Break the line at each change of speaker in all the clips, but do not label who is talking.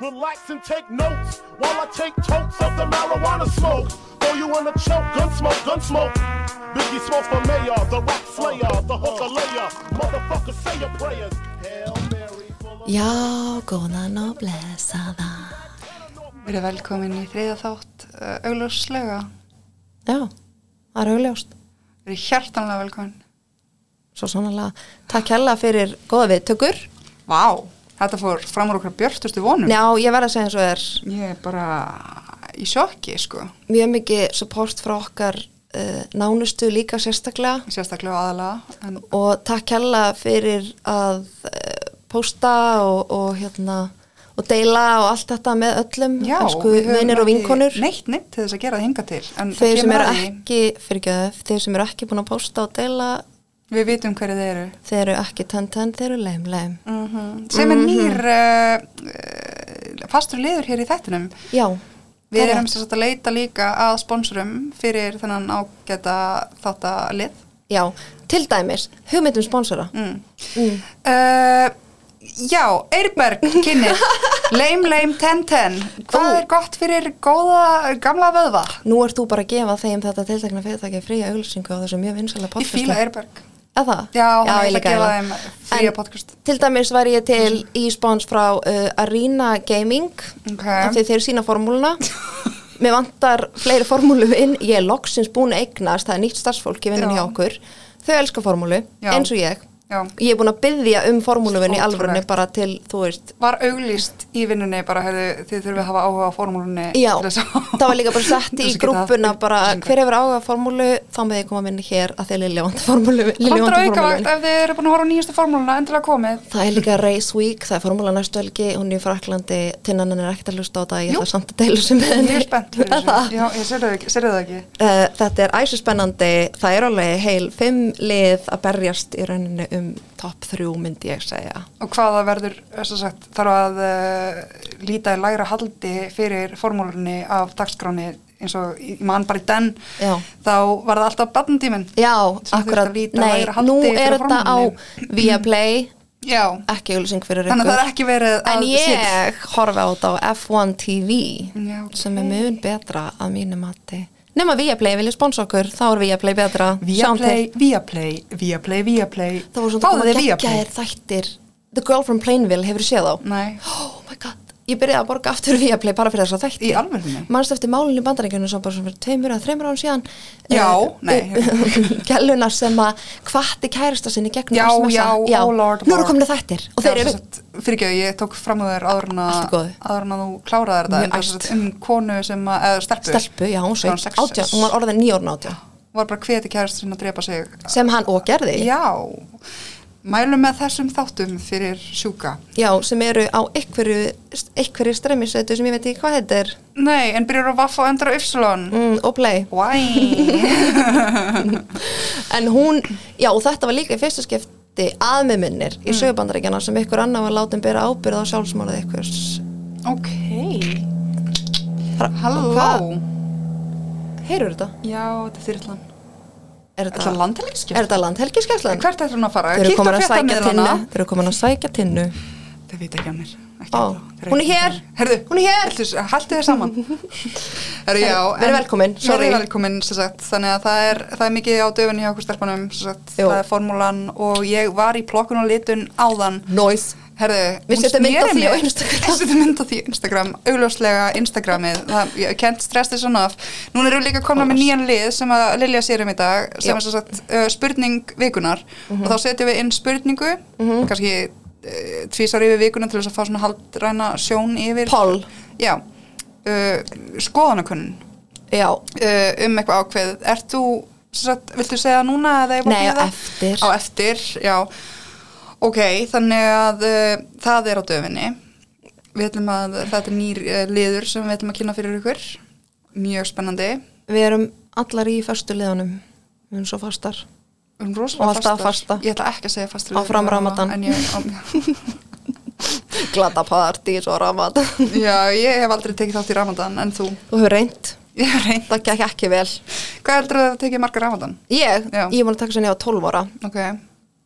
Relax and take notes while I take totes of the marijuana smoke. Throw you in a choke, gun smoke, gun smoke. Biggie smokes for mayor, the rap slayer, the hooker layer. Motherfucker, say your prayers. Hail Mary, full of
Já, góðan og blessaða.
Við erum velkomin í þriða þátt uh, augljóslega.
Já, það er augljóst.
Við erum hjartanlega velkomin.
Svo sannlega, takk hella fyrir góða viðtökur.
Vá, þetta fór framar okkar björtustu vonum.
Já, ég verð að segja eins og er
Ég er bara í sjokki, sko.
mjög mikið support frá okkar uh, nánustu líka sérstaklega
Sérstaklega aðalega. En
og takk hella fyrir að uh, posta og, og hérna og deila og allt þetta með öllum
já,
elsku
við höfum
munir og
ekki
vinkonur
Neitt, neitt til þess að gera það hinga til. En það
þeir sem
kemur
eru
að því.
ekki, fyrirgjöf, þeir sem eru ekki búin að posta og deila
Við vitum hverju þeir eru.
þeir eru ekki tönn-tönn, þeir eru leim-leim Mhm.
Sem er nýr uh, uh, fastur liður hér í þettinum.
já,
Við
það er
erum
rétt.
sem sagt að leita líka að sponsorum fyrir þennan ágæta þáttalið.
já, til dæmis, hugmyndum sponsora
Mm. Uh, já, Eirberg kynni, leim, leim, ten, ten. Hvað
Ú.
er gott fyrir góða, gamla vöðva?
nú ert þú bara að gefa þeim þetta tiltakna fyrirtæki fría auglýsingu á þessu mjög vinsæla
Ég
podcastu
fíla Eirberg.
Eða?
Já, þannig að
ég
ég
líka
ætla að gefa
eiginlega.
þeim fría
En
podcast.
Til dæmis var ég til í spons frá uh, Arena Gaming
Ok.
af því þeir sína formúluna Mér vantar fleiri formúlu inn ég er loksins búin að eignast, það er nýtt starfsfólk í vinnan hjá
Já.
okkur Þau elska formúlu,
Já.
eins og ég
Já.
Ég er búin að byggja um formúluvinn í
Ótrúlegt.
alvörunni bara til, þú veist
Var auglýst í vinnunni bara, hefðu, þið þurfum að hafa áhuga á formúlunni.
Já,
til þess að-
það var líka bara sett
til
í
þess að geta haft
grúppuna bara
upplýsingar.
hver hefur áhuga á formúlu, þá með ég koma minni hér að þeir Lilja vantar formúlu Lilja
Komdu á
vantar
aukavakt
formúlu
ef þið eru búin að horfa á nýjastu formúluna, endilega komið.
Það er líka Race Week, það er formúla næstu helgi, hún er í Fraklandi, tinnan henn er ekkert að hlusta á það, ég
Jú.
ætla samt að deilu sem
Ég er spennt fyrir þessu. Já, ég serðu það ekki. Serðu það ekki.
Uh, þetta er æsispennandi, það er alveg heil fimm lið að berjast í rauninni um topp þrjú myndi ég segja.
Og hvaða verður, þess að sagt, þarf að uh, líta í lægra haldi fyrir formúlunni af dagskráni eins og í- mann bara í den,
Já.
þá var það alltaf badntíminn.
Já,
Sem
akkurat,
þurfti að líta
nei,
lægra haldi
nú
fyrir
er þetta á
formúlunni.
Viaplay,
Já,
ekki júlusing fyrir ykkur.
þannig að það er ekki verið
En
að
ég horfa á þetta á F1 TV
Já, ok.
sem er mun betra að mínu mati. Nefn að Viaplay vilja sponsa okkur, þá er Viaplay betra. Sjáum til.
Viaplay, Viaplay, Viaplay, Viaplay.
Það voru svona
Fáðu
að
þið
koma
Viaplay?
geggjaðir þættir The Girl from Plainville, hefur séð þá?
Nei.
Oh my god, ég byrjaði að borga aftur Viaplay bara fyrir þess að þætti
Í alvörunni?
Manstu eftir málinu í bandarækjunum sem bara svona fyrir tveimur eða þreimur án síðan
Já,
nei Gæluna sem að hvatti kærasta sinni gegnum
Já,
SMS-a.
já, oh lord
Nú eru
lord.
komin þættir og þeir
Já,
eru
sem sagt, Fyrirgjöðu, ég tók fram úr þér áður en að-
Allt í góðu.
áður en að þú kláraði þetta
Mjög
en það er sem
æst.
sagt um konu sem að, eða stelpu
stelpu, já, hún svo
Svona sex-
átján, hún var orðin nýjórn átján
var bara hveti kærast sinna að drepa sig
sem hann og gerði,
Já, mælum með þessum þáttum fyrir sjúka.
já, sem eru á einhverju, einhverju streymisötu sem ég veit ekki hvað þetta er
Nei, en byrjar á Vaff og endur á Ypsilon.
mm, og play
Why?
en hún, já og þetta var líka í fyrsta skipti aðmiminnir í sögubandaríkjana sem ykkur annar var látin bera ábyrð á sjálfsmálaði ykkurs
ok.
Þar-
Halló.
Hvað? heyrur þetta?
Já, þetta er þyrlan.
Er
Er það
þetta, er
landhelgiskefn?
þetta land helgiskeslan?
Hvert ætlar hún að fara?
Þeir eru
Kíktu
komin
á
að sækja tinnu
fréttamiðlana.
Þeir eru komin að sækja tinnu
Þau veit ekki að mér. Ekki
Ó,
ennþá. Þeir eru
hún er
ekki-
hér.
Herðu,
Hún er hér.
Haltu- Haltu þér saman. Herðu, já.
Verið
en-
velkomin, sorry.
Verið velkomin, sem sagt. Þannig að það er, það er mikið á döfunni hjá okkur stelpunum, sem sagt.
Jú.
Það er formúlan og ég var í plokkun og litun áðan.
Noise
Herðu,
Við
hún
setjum mynd á
sneri
því á
mér-
Instagram.
Við setjum mynd á því á Instagram, augljóslega Instagramið, það, ég can't stress this enough. Núna erum við líka konar með nýjan lið sem að Lilja sér um í dag, sem
Já. Mhm.
er svo sagt uh, spurning vikunar og þá setjum við inn spurningu, kannski uh, tvísar yfir vikuna til þess að fá svona haldræna sjón yfir.
Poll.
Já, uh, skoðanakunnun
Já,
uh, um eitthvað ákveð ert þú, sem sagt, viltu segja núna eða ég má
Nei, á
bíða?
eftir.
á eftir, já ok, þannig að uh, það er á döfinni við ætlum að þetta er nýr uh, liður sem við ætlum að kynna fyrir ykkur mjög spennandi
við erum allar í föstu liðanum Við erum svo fastar
um
Og
rosalega
alltaf
fastar.
fasta.
ég ætla ekki að segja fastur
Áfram Ramadan.
en ég, á,
Glata party, svo ramat Þú
já, ég hef aldrei tekið þátt í Ramadan en þú,
hefur reynd,
ég hef reynd
það gekk ekki vel
hvað heldur það að tekið margar Ramadan?
Ég,
Já.
ég var að taka sem ég var 12 ára
ok,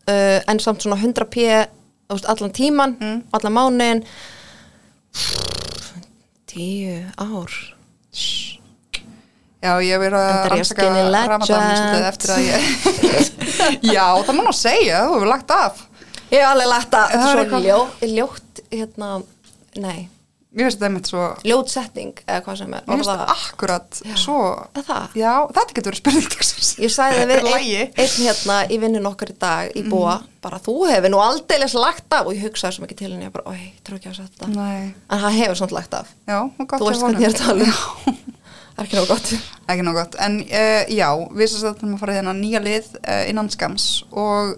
Mm.
uh, en samt svona 100 p þú veist, allan tíman, allan mánuðin tíu ár
Já, ég hef verið að
Endar ég
rannsaka
skinny legend.
ramadan svolítið eftir að ég Já, það má nú segja, þú hefur lagt af
Ég hef alveg lagt að
Það
svo
er eitthvað-
ljó, ljótt hérna, nei,
Mér finnst þetta einmitt svo
ljótt setning eða hvað sem er
Mér finnst
orða-
þetta akkurat svo
Er það?
Já, þetta getur verið spurning dagsins
Ég sagði það við
Þetta er Mm. lagi.
einn ein, hérna í vinnun okkar í dag í búa, bara þú hefur nú aldeilis lagt af og ég hugsaði svo mikið til henni, ég bara, oi, trú ekki að setja þetta.
Nei,
En hann hefur svona lagt af.
já, og gott
Þú veist
hjá honum.
hvernig ég er að tala um.
Já.
Það er ekki nóg gott.
ekki nóg gott, en uh, já við sem sagt erum að fara í þennan nýja lið uh, innan skams og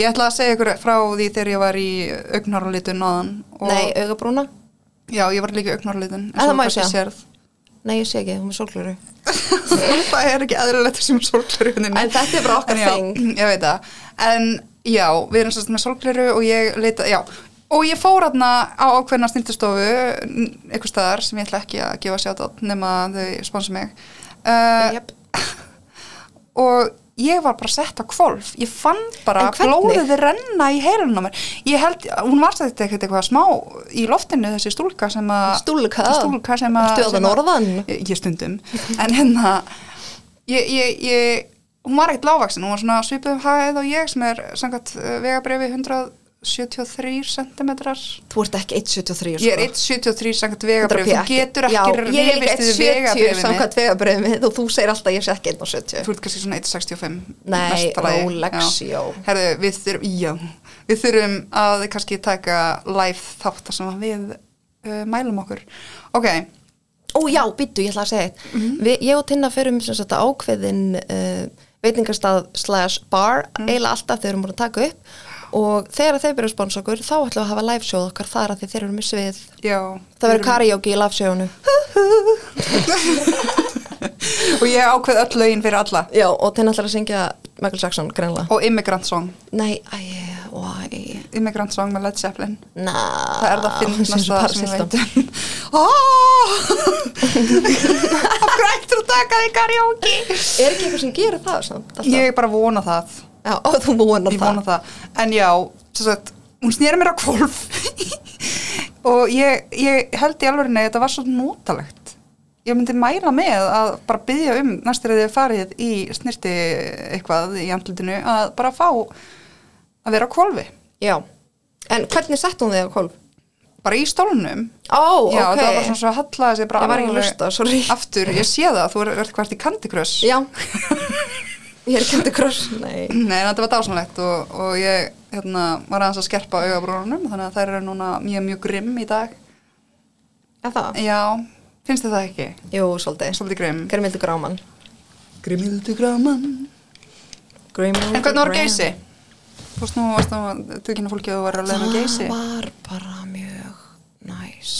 ég ætla að segja ykkur frá því þegar ég var í augnáralitun áðan og
Nei, augabrúna?
já, ég var líka í augnáralitun
Eh, það má ég sjá.
sérð
Nei, ég sé ekki, hún er sólglöru.
það er ekki eðlilegt sem sorgleru
En þetta er bara okkar þing.
ég veit það, en já, við erum sérst með sorgleru og ég leita, já og ég fór hérna á ákveðna snildustofu einhver staðar sem ég ætla ekki að gefa sjátt nema að þau sponsa mig uh,
Jöp.
og ég var bara sett á kvolf ég fann bara
En hvernig?
blóðið renna í heilunum á mér ég held, hún var þetta ekkert eitthvað smá í loftinu þessi stúlka sem að
Stúlka?
stúlka sem að
Ertu að það
sem að-
norðan?
ég, ég stundum, en hérna ég, ég, ég hún var ekkert lágvaksin, hún var svona svipuð um hæð og ég sem er samkvæmt eh, vegabrifi 173 cm
Þú ert ekki 1,73
ég er 173 samkvæmt vegabrifi þú getur
Já,
ekki
ég er líka
rifist við
1,70
vegabrifið mitt.
samkvæmt vegabröðum mitt og þú segir alltaf að ég sé ekki 1,70
þú ert kannski svona 165
Nei,
mesta lagi.
Rolex,
Já.
já.
Herðu, við þurfum, já, við þurfum að kannski taka live þátt þar sem að við uh, mælum okkur ok,
Ó já, býttu, ég ætla að segja mm Við, Ég og Tinna ferum sem sagt á ákveðin uh, veitingastað slash bar eiginlega alltaf þegar við erum búin að taka upp og þegar þeir byrja að sponsa okkur þá ætlum við að hafa live sjóð okkar þar að því þeir eru með svið
já
Það verður karaoke í live sjónu
og ég ákveð öll lögin fyrir alla
Já, og Tinna ætlar að syngja Michael Jackson greinlega
og Immigrant Song
Nei, æ, why
Immigrant Song með Led Zeppelin
Na,
það er
Ah,
það finnasta sem ég
Parsistan.
veit Ah! af hverju ættir að taka því karaoke
Er ekki eitthvað sem gerir það samt? alltaf?
ég bara vona það
Já, ó, þú vonar
ég vona
það.
það en já, sem sagt, hún snýra mér á kvolf og ég, ég held í alveg að þetta var svo notalegt ég myndi mæla með að bara byggja um næstir að þið farið í snirti eitthvað í andlutinu að bara fá að vera á kvolfi
Já, en hvernig sett hún þig á kólf?
bara í stólnum
Ó,
já,
ok.
það var svona svo að halla þessi
Ég var
bara
ekki að
alveg
hlusta, sorry.
aftur, ég sé það, þú ert hvert í Candy Crush
Já. Ég er kemdi kross, nei.
Nei, en þetta var dásanlegt og, og ég hérna, var aðeins að skerpa augabrúnunum þannig að þær eru núna mjög mjög grimm í dag
Er það?
Já, finnst þið það ekki?
Jú, svolítið.
Svolítið grimm
Grimildi Gráman.
Grimmildu graman
Grimildi
En hvernig voru geysi? Fórst nú varst nú að tilkynna fólki að þú var að leiða með geysi
Það var bara mjög næs.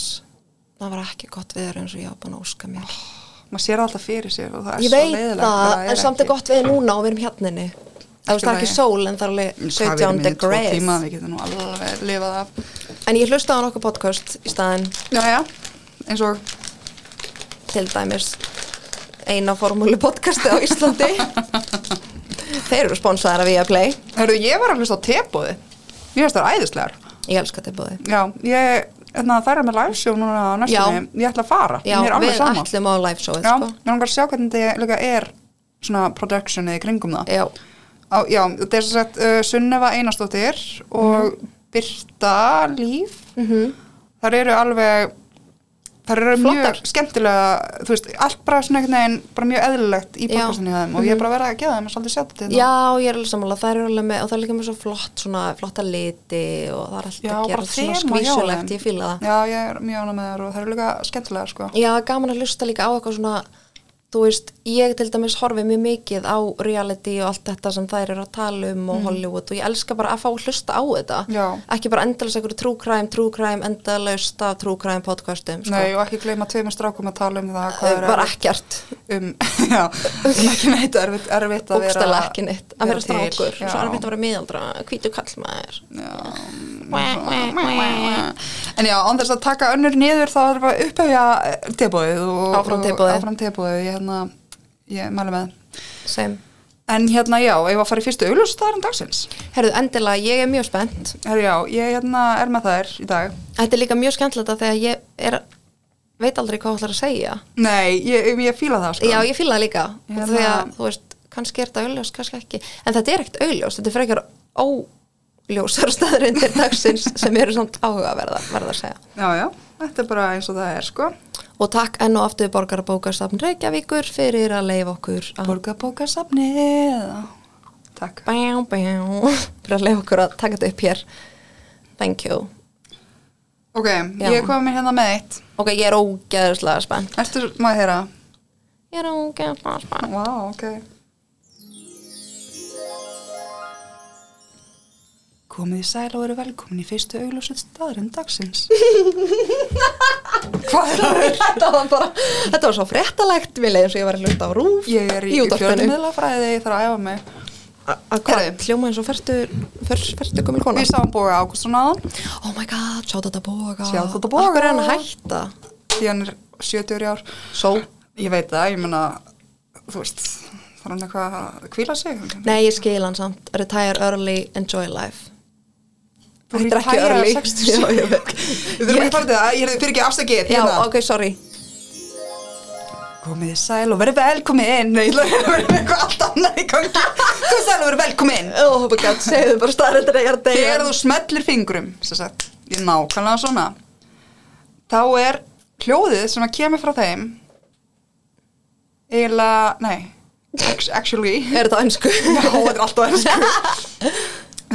Það var ekki gott viður eins og ég var búin að óska mér.
Maður sér það alltaf fyrir sér og það er
ah. ég
svo
veit
leiðilegt
það, en samt er gott viður núna og við erum hjarninni. Það
Allt
er
í
ekki
lagi.
sól, en það er alveg 17
Hvað við erum í tvo tíma,
degrees.
við getum nú alveg lifað af
En ég hlustaði á nokkuð podcast í staðinn.
Já, já, eins og
til dæmis eina formúli podcasti á Íslandi þeir eru sponsaðar af Viaplay
Hörðu, ég var að hlusta á tebóði Mér finnst það æðislegar
ég elska þetta bóði
Já, ég, þannig að það er með live show núna á næstunni, ég ætla að fara
já,
Mér er alveg
við
sama
ætlum á live showið
Já,
sko.
mér langar að sjá hvernig þetta líka er svona productionið í kringum það
já,
Á, Já, þetta er sem sagt uh, Sunneva Einarsdóttir og
Mhm.
Birta Líf -hmm. Þar eru alveg þar eru
Flottar.
mjög skemmtilega þú veist, allt bara svona einhvern veginn bara mjög eðlilegt
Já.
í
Mhm.
podcastinu hjá þeim og ég er bara að vera að gefa þeim að svolítið sjá þetta hérna.
já, ég er alveg sammála það er alveg með, og það er líka með svo flott svona, flotta liti og það er alltaf
Já,
að
bara
gera svona
þema hjá þeim.
skvísulegt, ég fíla það já.
Já, ég er mjög ánæg með þær og það eru líka skemmtilega sko.
gaman að hlusta líka á eitthvað svona þú veist, ég til dæmis horfi mjög mikið á reality og allt þetta sem þær eru að tala um og Hollywood og ég elska bara að fá að hlusta á þetta
Mhm. Já.
ekki bara endalaust einhverju true crime, true crime endalaust af true crime podcastum sko.
Nei, og ekki gleyma tveimur strákum að tala um það hvað
það
er
var
erfitt
ekkert
um, já, um ekki neitt erfitt, erfitt að vera
bókstæla ekki neitt, að vera
til,
strákur og
já.
svo erfitt að vera miðaldra, hvítu kallmaður
En já, án þess að taka önnur niður þá er bara upphefja tebóið og,
Áfram teboðið.
og, áfram teboðið. Ég, hérna, ég mælu með
sem
en hérna já, ef að fara í fyrstu augljósstaðarinn dagsins
Herðu, endilega, ég er mjög spennt.
Herru já, ég hérna er með þær í dag
Þetta er líka mjög skemmtilegt að þegar ég er, veit aldrei hvað ætlar að segja.
Nei, ég, ég fíla það sko
Já, ég fíla það líka.
Ég
Hérna.
hefna-
Þegar, þú veist, kannski er þetta auðljós, kannski ekki. En þetta er ekkert auðljós, þetta er frekar óljósar staðrindir dagsins sem eru samt áhugaverða, verða að segja.
já, já, þetta er bara eins og það er sko
Og takk enn og aftur borgarabókastafn Reykjavíkur fyrir að leifa okkur að...
Borgabókasafnið Takk
Bæjá, bæjá, fyrir að leifa okkur að taka þetta upp hér. Thank you.
Ok,
Já.
ég kom mér hérna með eitt
Ok, ég er ógeðslega spennt.
Ertu, má ég heyra?
Ég er ógeðslega spennt.
Vá, ok Komið í sæl og eru velkomin í fyrstu augljósið staðarinn dagsins Hvað er það?
þetta var bara, þetta var svo fréttalegt mér leiðum svo ég var að hluta á rúf
Ég er í, í
útvarpinu
fjölmiðlafræði, ég þarf að æfa mig
að hvað,
Herðu.
hljóma eins og fyrstu fyrstu gömul kona
Við sáum Bóga Ágústsson áðan
oh my god, sjá þetta boga
Shout out to Boga.
akkur er hann að hætta
því hann er 70 ári ár
so,
Ég veit það, ég meina, þú veist, þarf hann eitthvað að kvíla sig?
nei ég skil hann samt retire early, enjoy life
Þú
Þetta er ekki
retirar
early.
60.
Já, ég veit.
Við þurfum ekki að fara til það, ég er fyrir ekki afsakið hérna.
já, ok, sorry
Komið þið sæl og verið velkomið inn Nei, ég verið með eitthvað allt annað í gangi Komið sæl og verið velkomið inn
oh my god, segðu bara staðrættir að ég er að
Þegar
deyja
þú smellir fingrum, sem sagt Ég er nákvæmlega svona Þá er hljóðið sem að kemur frá þeim Eiginlega, nei act- Actually Já,
er þetta á ennsku
þetta er alltaf ennsku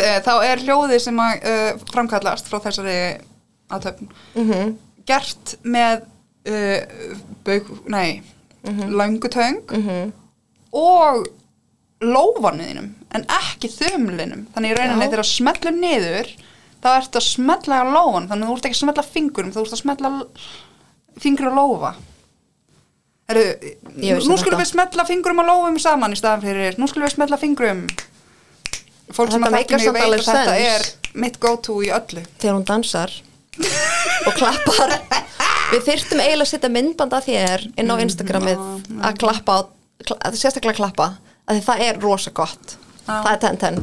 eh, Þá er hljóðið sem að uh, framkallast frá þessari aðtöfn
Mhm.
gert með uh, bauk, nei, löngutöng
Mhm.
og lófanuðinum en ekki þumlinum þannig í rauninni
Já.
þegar þú smellur niður þá ertu að smella á lófan þannig að þú ert ekki að smella fingurum þú ert að smella fingur á lófa Heru,
Ég vissi
nú skulum
þetta.
við smella fingurum og lófum saman í staðan fyrir nú skulum við smella fingurum fólk sem
Þetta
að
meikar
þekki mig
samt
veit
alveg
að þetta
sens.
er mitt go to í öllu
þegar hún dansar og klappar við þyrftum eiginlega að setja myndband að þér inn á
Mm,
Instagramið að klappa kla- að sérstaklega klappa að því það er rosa gott
Já.
það er 10-10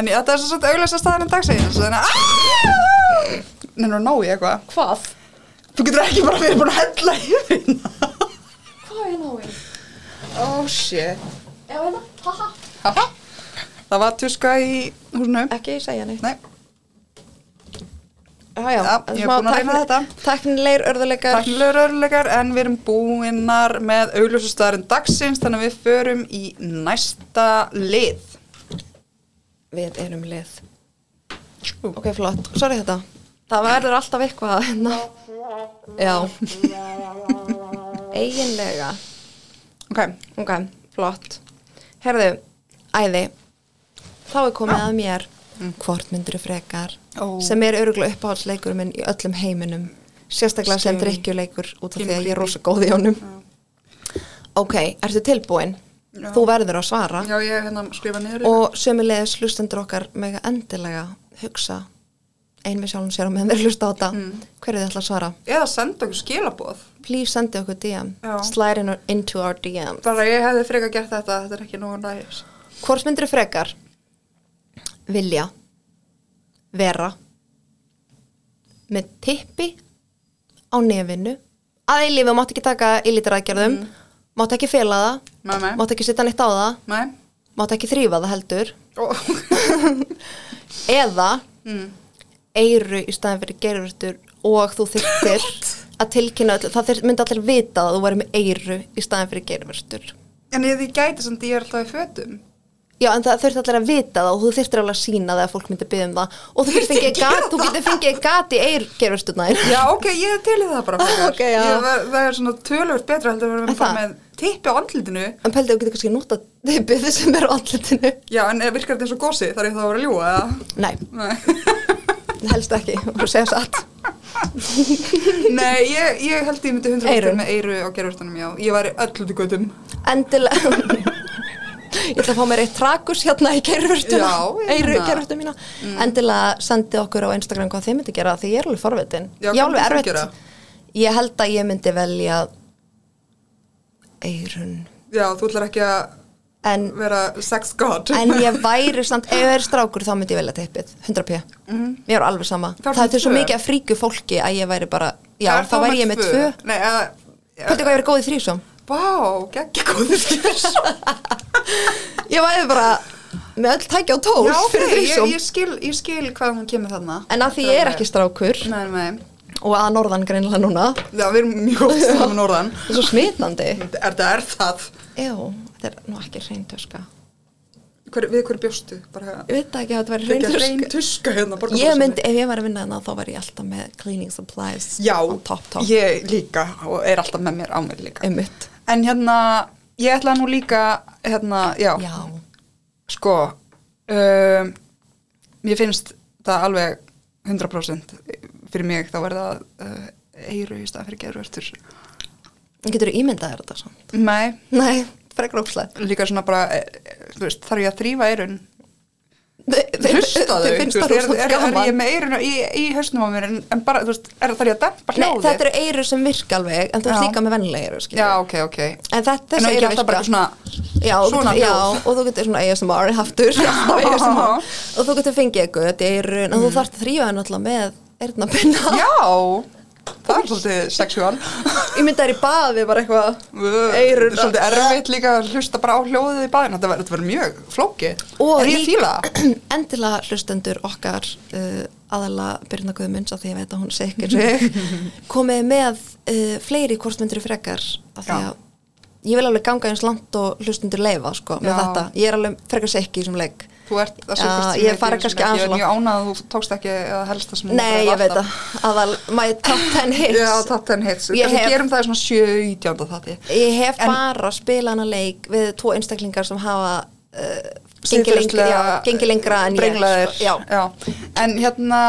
En já, þetta er svo svolítið auglösa staðan en dagsins Þannig að Nei, nú ná ég eitthvað
hvað?
Þú getur ekki bara verið búin að hella yfir hérna
hvað er náinn?
Oh shit
já, hérna, haha
Haha. Það var tuska í húsinu
ekki segja neitt
Nei,
já, já,
Já, ég er búin að reyna þetta.
teknilegur örðuleikar
takkilegur örlegar En við erum búinnar með auglösa staðan um dagsins Þannig að við förum í næsta lið
við erum lið ok, flott, sorry þetta það verður alltaf eitthvað hérna. já eiginlega
Ok,
Ok, flott. Herðu, æði, þá er komið að mér hvort myndur frekar
Mm. Ó.
sem er öruglega uppáhaldsleikur minn í öllum heiminum sérstaklega sem
Scary.
drikkjuleikur út af
Pínu
því að ég
creepy.
er rosa góð í honum Ok, ertu tilbúin?
Já.
Þú verður að svara
já ég hérna skrifa niður
og sömulegis hlustendur okkar mega endilega hugsa ein við sjálfum sér á meðan við hlusta á þetta
Mm.
hverju þið ætla að svara?
Eða senda okkur skilaboð
Please sendi okkur DM
Já.
slide in into our DM
Bara ég hefði frekar gert þetta, þetta er ekki nógu næs
Hvort myndir frekar? Vilja Vera Með tippi Á nefinu Að eilífi mátt ekki taka illítaraðgerðum mm. Mátt ekki fela það
Nei, nei.
Mátt ekki setja neitt á það
Nei
Mátt ekki þrýfa það heldur
oh.
Eða Eiru í staðin fyrir geirvörtur Og þú þyrftir að tilkynna öll, Það þyr, myndi allir vita að þú væri með eiru Í staðin fyrir geirvörtur
En ef ég gæti samt ég er alltaf í fötum
Já, en það þurft allir að vita það og þú þurftir alveg að sína það að fólk myndi byggja um það og þú getur
Þyrfti
fengið
að gera
gat, þú getur fengið gat í eir gerustunæðir.
Já, ok, ég er til í það bara frekar.
Ok, já.
ég, það, það er svona tölvöld betra heldur að
En
vera bara
það?
með tippi á andlitinu
En pældi þú getur kannski nota typið sem er á andlitinu.
Já, en ef virkar þetta eins og gósi þarf ég þá að vera að ljúga eða?
Nei,
Nei,
helst ekki, bara segja satt.
Nei ég, ég held ég myndi 100%
Eyrun.
með eyru á gerurtunum, já Ég var öllu til göttum
Endilega. Ég ætla að fá mér eitt trakus hérna í gerustuna,
Já, ég
eiru
meina. Mm.
gerustuna mína. Endilega sendi okkur á Instagram hvað þið myndi gera því ég er alveg forvitin.
Já,
ég er
hvað myndir þú
alveg
gera?
erfitt. Ég held að ég myndi velja eirun.
Já, þú ætlar ekki að
en,
vera sex god
en ég væri samt, ef ég er strákur þá myndi ég velja teppið, 100p
Mhm.
ég er alveg sama,
Þá ertu
það er til svo
tvö.
mikið að fríku fólki að ég væri bara, já,
Er
þá væri ég með tvö
Nei, eða
hvernig hvað ég verið góð í þrísom
Vá, geggja góður skilsum
ég væri bara með öll tækja á tól
Já, ok,
fyrir
ég,
þrísom
ég, skil, ég skil hvað hún kemur þarna
en að því ég er ekki strákur
Nei, nei,
og að norðan greinilega núna
já, við erum mjög oft saman með norðan
það er svo smitandi
Er það, er það?
já, þetta er nú ekki reyntöska
Hver, við hverju bjóstu? Bara
ég veit ekki að þetta væri
Reyn tuska,
reyntöska
reyn tuska hérna
Ég myndi, ef ég var að vinna þarna þá var ég alltaf með cleaning supplies
Já,
á top top
ég líka og er alltaf með mér á mér líka
ummitt
En hérna, ég ætla nú líka hérna, já,
Já,
sko um, Mér finnst það alveg 100% fyrir mig þá verða uh, eiru í stað fyrir geðruvertur
getur þú ímyndaðir þetta samt?
Nei,
Nei, frekar ópslega
líka svona bara eh, þú veist, þarf ég að þrýfa eirun hlusta þau
Þau finnst
þú
það
veist,
rosa
er, er, er ég
gaman
með eirun í, í hausnum á mér en, en bara, þú veist, er þarf ég að
Nei,
dempa hljóðið
þetta eru eiru sem virka alveg en þú ert
Já.
líka með vennilega eiru skilur.
já, ok, ok
En þetta
En
þessi
ekki
eyru
alltaf bara svona-
já,
svona
já,
hljóð.
og þú getur svona ASMR haftur sko, alltaf ASMR. og þú getur fengið eitthvað í eiru en
Mm.
þú þarft að þrýfa henni alltaf með eirnabinna
já, það er svolítið sexuál
Ég myndi þær í baði bara eitthvað eyrun
svolítið erfitt líka að hlusta bara á hljóðið í baðin þetta verður- þetta verður mjög flókið
og
en ég fíla það.
endilega hlustendur okkar uh, aðala Birna Guðmunds af því ég veit að hún sé ekki eins og ég komið með uh, fleiri kortmyndir frekar af því að
Já.
ég vil alveg ganga eins langt og hlustendur leifa sko með
Já.
þetta, ég er alveg frekar sekki í þessum leik
þú ert að
Já,
sem
ég
heitir
fara
sem
kannski
ekki-
aðeins
ég er
langt.
mjög ánað að þú tókst ekki að helsta sem
nei, ég veit að aðal, my top 10 hits
já, top 10 hits
Ég
kannski
hef-
gerum það í svona 7-19 þátti
ég hef
En-
bara spilað hana leik við tvo einstaklingar sem hafa uh, gengið lengra,
Siðferðislega
já, gengi lengra en ég
brenglaðir.
sko. já,
já. En hérna,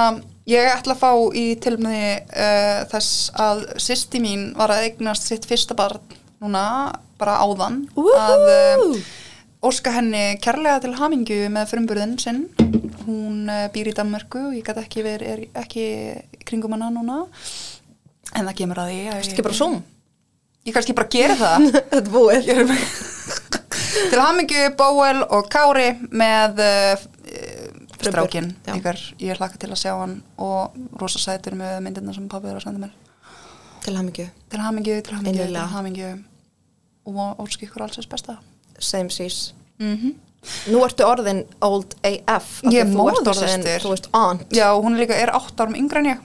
ég ætla að fá í tilmöði uh, þess að sýsti mín var að eignast sitt fyrsta barn núna, bara áðan
Woohoo!
að uh, óska henni kærlega til hamingju með frumburðin sinn hún uh, býr í Danmörku og ég gæti ekki verið er ekki kringum hana núna en það kemur að því að
Ertu ekki bara zoom
ég kannski bara gera það
þetta er búið
Ég er með- Til hamingju Bóel og Kári með uh,
Frumburð,
strákin
já.
ykkar, ég hlakka til að sjá hann og rosa sætur með myndirna sem pabbi er að senda mér
til hamingju
til hamingju, til hamingju,
Innilega.
til hamingju og óski ykkur alls þess besta
same seas
mm
Mhm. nú ertu orðin old AF af því
Ég er
þú ert orðin-
móðursystir.
þú veist aunt
já, hún líka er átt árum yngra en ég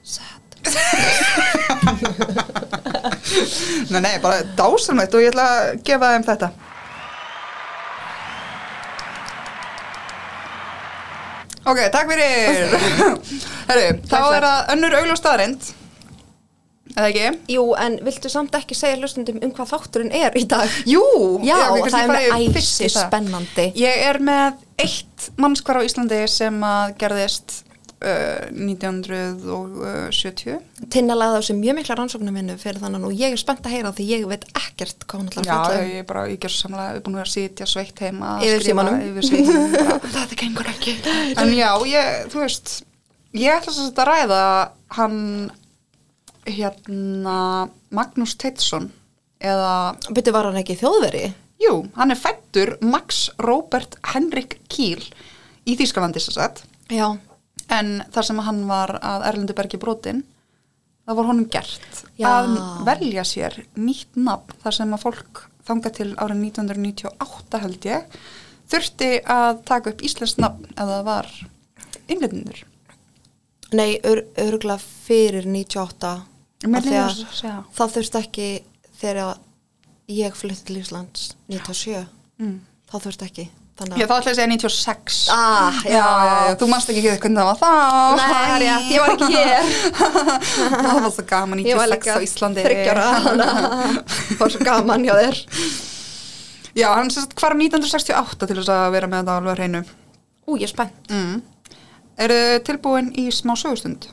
Sad.
nei, nei, bara dásamlegt og ég ætla að gefa þeim þetta ok, takk fyrir herru, þá
Takk,
er það önnur augljóð staðrind eða ekki?
jú en viltu samt ekki segja hlustundum um hvað þátturinn er í dag
Jú,
Já,
við kannski
það er með
fara yfir fyrst í
æsi
það.
spennandi.
Ég er með eitt mannskvar á Íslandi sem að gerðist uh, 1970
Tinna lagði á sig mjög mikla rannsóknum minnu fyrir þannig og ég er spennt að heyra því ég veit ekkert hvað hún ætlar
Já,
að fjalla um.
ég er bara, ég gerst samlega, ég er búin að vera að sitja sveitt heima að
Yfir
skrifa
símanum.
Yfir símanum bara.
það gengur ekki
En já, ég, þú veist, ég ætla sem sagt að ræða hann, hérna, Magnús Teitsson eða
byrju var hann ekki þjóðveri
Jú, hann er fættur Max Robert Henrik Kiel í Þýskalandi sem sagt
já,
en þar sem hann var að Erlendu Bergi brotin það var honum gert
Já.
að velja sér nýtt nafn þar sem að fólk þanga til árið 1998 held ég þurfti að taka upp íslensk nafn ef það var innlendinur
nei, ör, örgla fyrir 98
Mér
af því að
líður svo, já.
það þurfti ekki þegar ég flutti til Íslands 97 mm. þá þurfti ekki þannig
Já, þá ætla ég að segja 96
Ah, já.
Þú manst ekki hvernig það var þá
Nei, það er rétt, ég var ekki hér.
Það var svo gaman
Ég var
96
líka
á Íslandi
þryggjara Það var svo gaman hjá þér
Já, hann sérst hvar 1968 til þess að vera með þetta alveg á hreinu
Ú, ég er spennt
mm. Eru tilbúin í smá sögustund?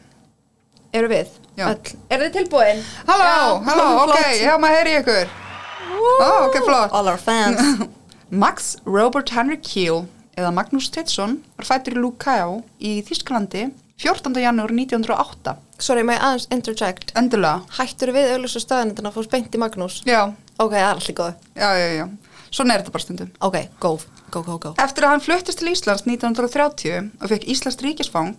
Eru við?
Já.
Öll. Eru þið tilbúin?
Halló,
Já,
halló,
flott.
ok, já maður heyri í ykkur Ó, ok, flott
All our fans
Max Robert Henry Kiel eða Magnús Teitsson var fættur í Lukajá í Þýskalandi 14. janúar 1908
Sorry, maður aðeins interject
Endulega
Hættur við auðlýsa stöðanendina að fór spennt í Magnús
Já,
Ok, það er allir góð
já, já, já Svona er þetta bara stundum.
ok, go, go, go, go
Eftir að hann fluttist til Íslands 1930 og fekk Íslands ríkisfang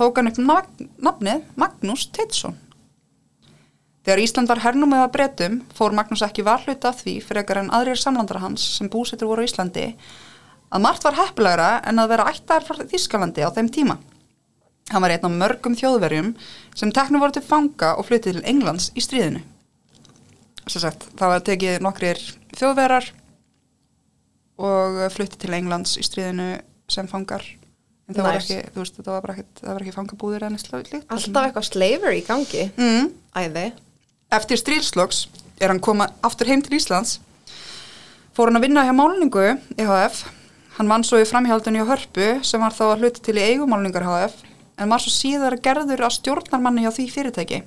tók hann upp nag- nafnið Magnús Teitsson. Þegar Ísland var hernumið að bretum fór Magnús ekki varhluta af því frekar en aðrir samlandara hans sem búsettur voru á Íslandi að margt var heppilegra en að vera ættar frá Þískalandi á þeim tíma. Hann var einn af mörgum þjóðverjum sem teknum voru til fanga og fluttið til Englands í stríðinu. Sem sagt, það var tekið nokkrir þjóðverjar og flutti til Englands í stríðinu sem fangar en það var
Nice.
ekki, þú veist, það var bara ekki, það var ekki fangabúðir en slíkt
alltaf eitthvað slavery í gangi
mm.
æði,
Eftir stríðsloks er hann koma aftur heim til Íslands fór hann að vinna hjá málningu EHF hann vann svo í framhjaldinu hjá Hörpu sem var þá að hluti til í eigumálningar HF en var svo síðar gerður að stjórnarmanni hjá því fyrirtæki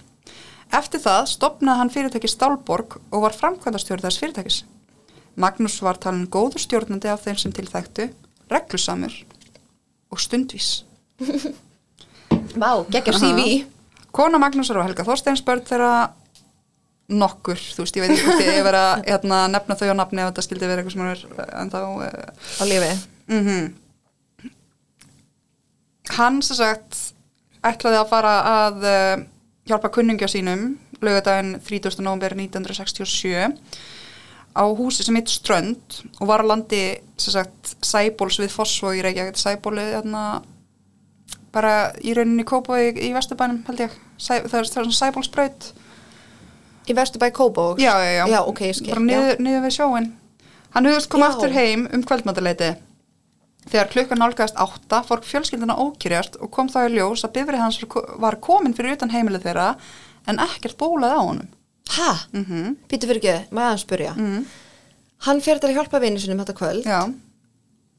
Eftir það stopnaði hann fyrirtæki Stálborg og var framkvæmdastjórn þess fyrirtækis Magnús var talin góður stjórnandi af þeim sem til þekktu reglusamur og stundvís
vá, geggja CV
Kona Magnúsar og Helga Þorsteins börn þeirra nokkur, þú veist, ég veit ekki hvort ég vera hérna, að nefna þau á nafni ef þetta skildi vera eitthvað sem hún er eh, en þá uh,
á lífi
mm hann sem sagt ætlaði að fara að uh, hjálpa kunningja sínum lögadaginn 30. november 1967 á húsi sem heitt Strönd og var að landi sem sagt Sæbóls við Fossvog í Reykjavík Sæbóli þarna bara í rauninni kópa í, í Vesturbænum held ég, Sæ, það er svona Sæbólsbraut
í Vesturbæ Kóbóks
já, já, já,
ok, ég skil
bara
já.
niður, niður við sjóin hann hugðist koma
Já.
aftur heim um kvöldmátaleiti þegar klukkan nálgæðast átta fór fjölskyldina ókyrjast og kom þá í ljós að bifrið hans var ko- var komin fyrir utan heimilið þeirra en ekkert bólaði á honum
ha, mm -hmm. býtu fyrir ekki, maður að spyrja hann fyrir til að hjálpa vinnu sinum þetta kvöld
já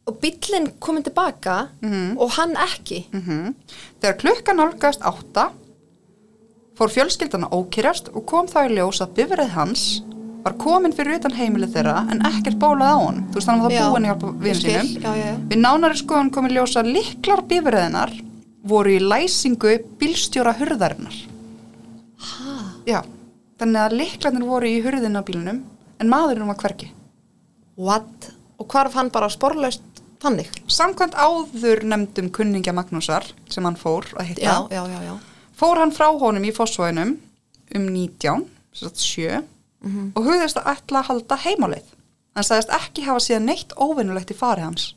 og bíllinn komin tilbaka
Mhm.
og hann ekki
mm þegar klukkan nálgæðast átta fór fjölskyldina ókyrjast og kom þá í ljós að bifrið hans var komin fyrir utan heimilið þeirra en ekkert bólaði á honum þú veist hann var
Já.
það búin að hjálpa
Ég
vinu
skil,
sínum
já, já, já.
Við nánari skoðan komið ljósa liklar bifræðinar voru í læsingu bílstjóra hurðarinnar.
ha,
Já, þannig að liklarnir voru í hurðina á bílunum en maðurinn var hvergi.
what og hvarf hann bara sporlaust þannig
Samkvæmt áður nefndum kunningja Magnúsar sem hann fór að hitta,
já, já, já, já,
fór hann frá honum í fósvæðinum um 19, sem sagt 7
Mhm.
og hugðist að ætla að halda heimáleið. Hann sagðist ekki hafa síðan neitt óvinnulegt í fari hans.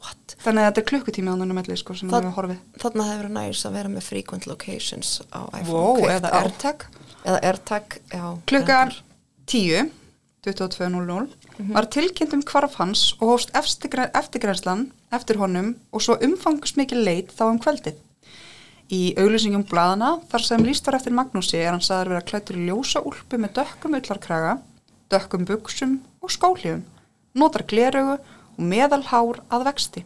what
Þannig að þetta er klukkutími hann um melli sko sem
Það-
hann hefur horfið.
Þarna það hefur verið næs að vera með frequent locations á iPhone.
Wow,
kveikt
eða
á.
AirTag.
Eða AirTag, já.
Klukkan 10, 22.00 var tilkynnt um hvarf hans og hófst eftirgre- eftirgrennslan eftir honum og svo umfangsmikil leit þá um kveldið. Í auglýsingum blaðana þar sem líst var eftir Magnúsi er hann sagður vera klættur í ljósa úlpu með dökkum ullarkraga, dökkum buksum og skóliðum, notar gleraugu og meðalhár að vexti.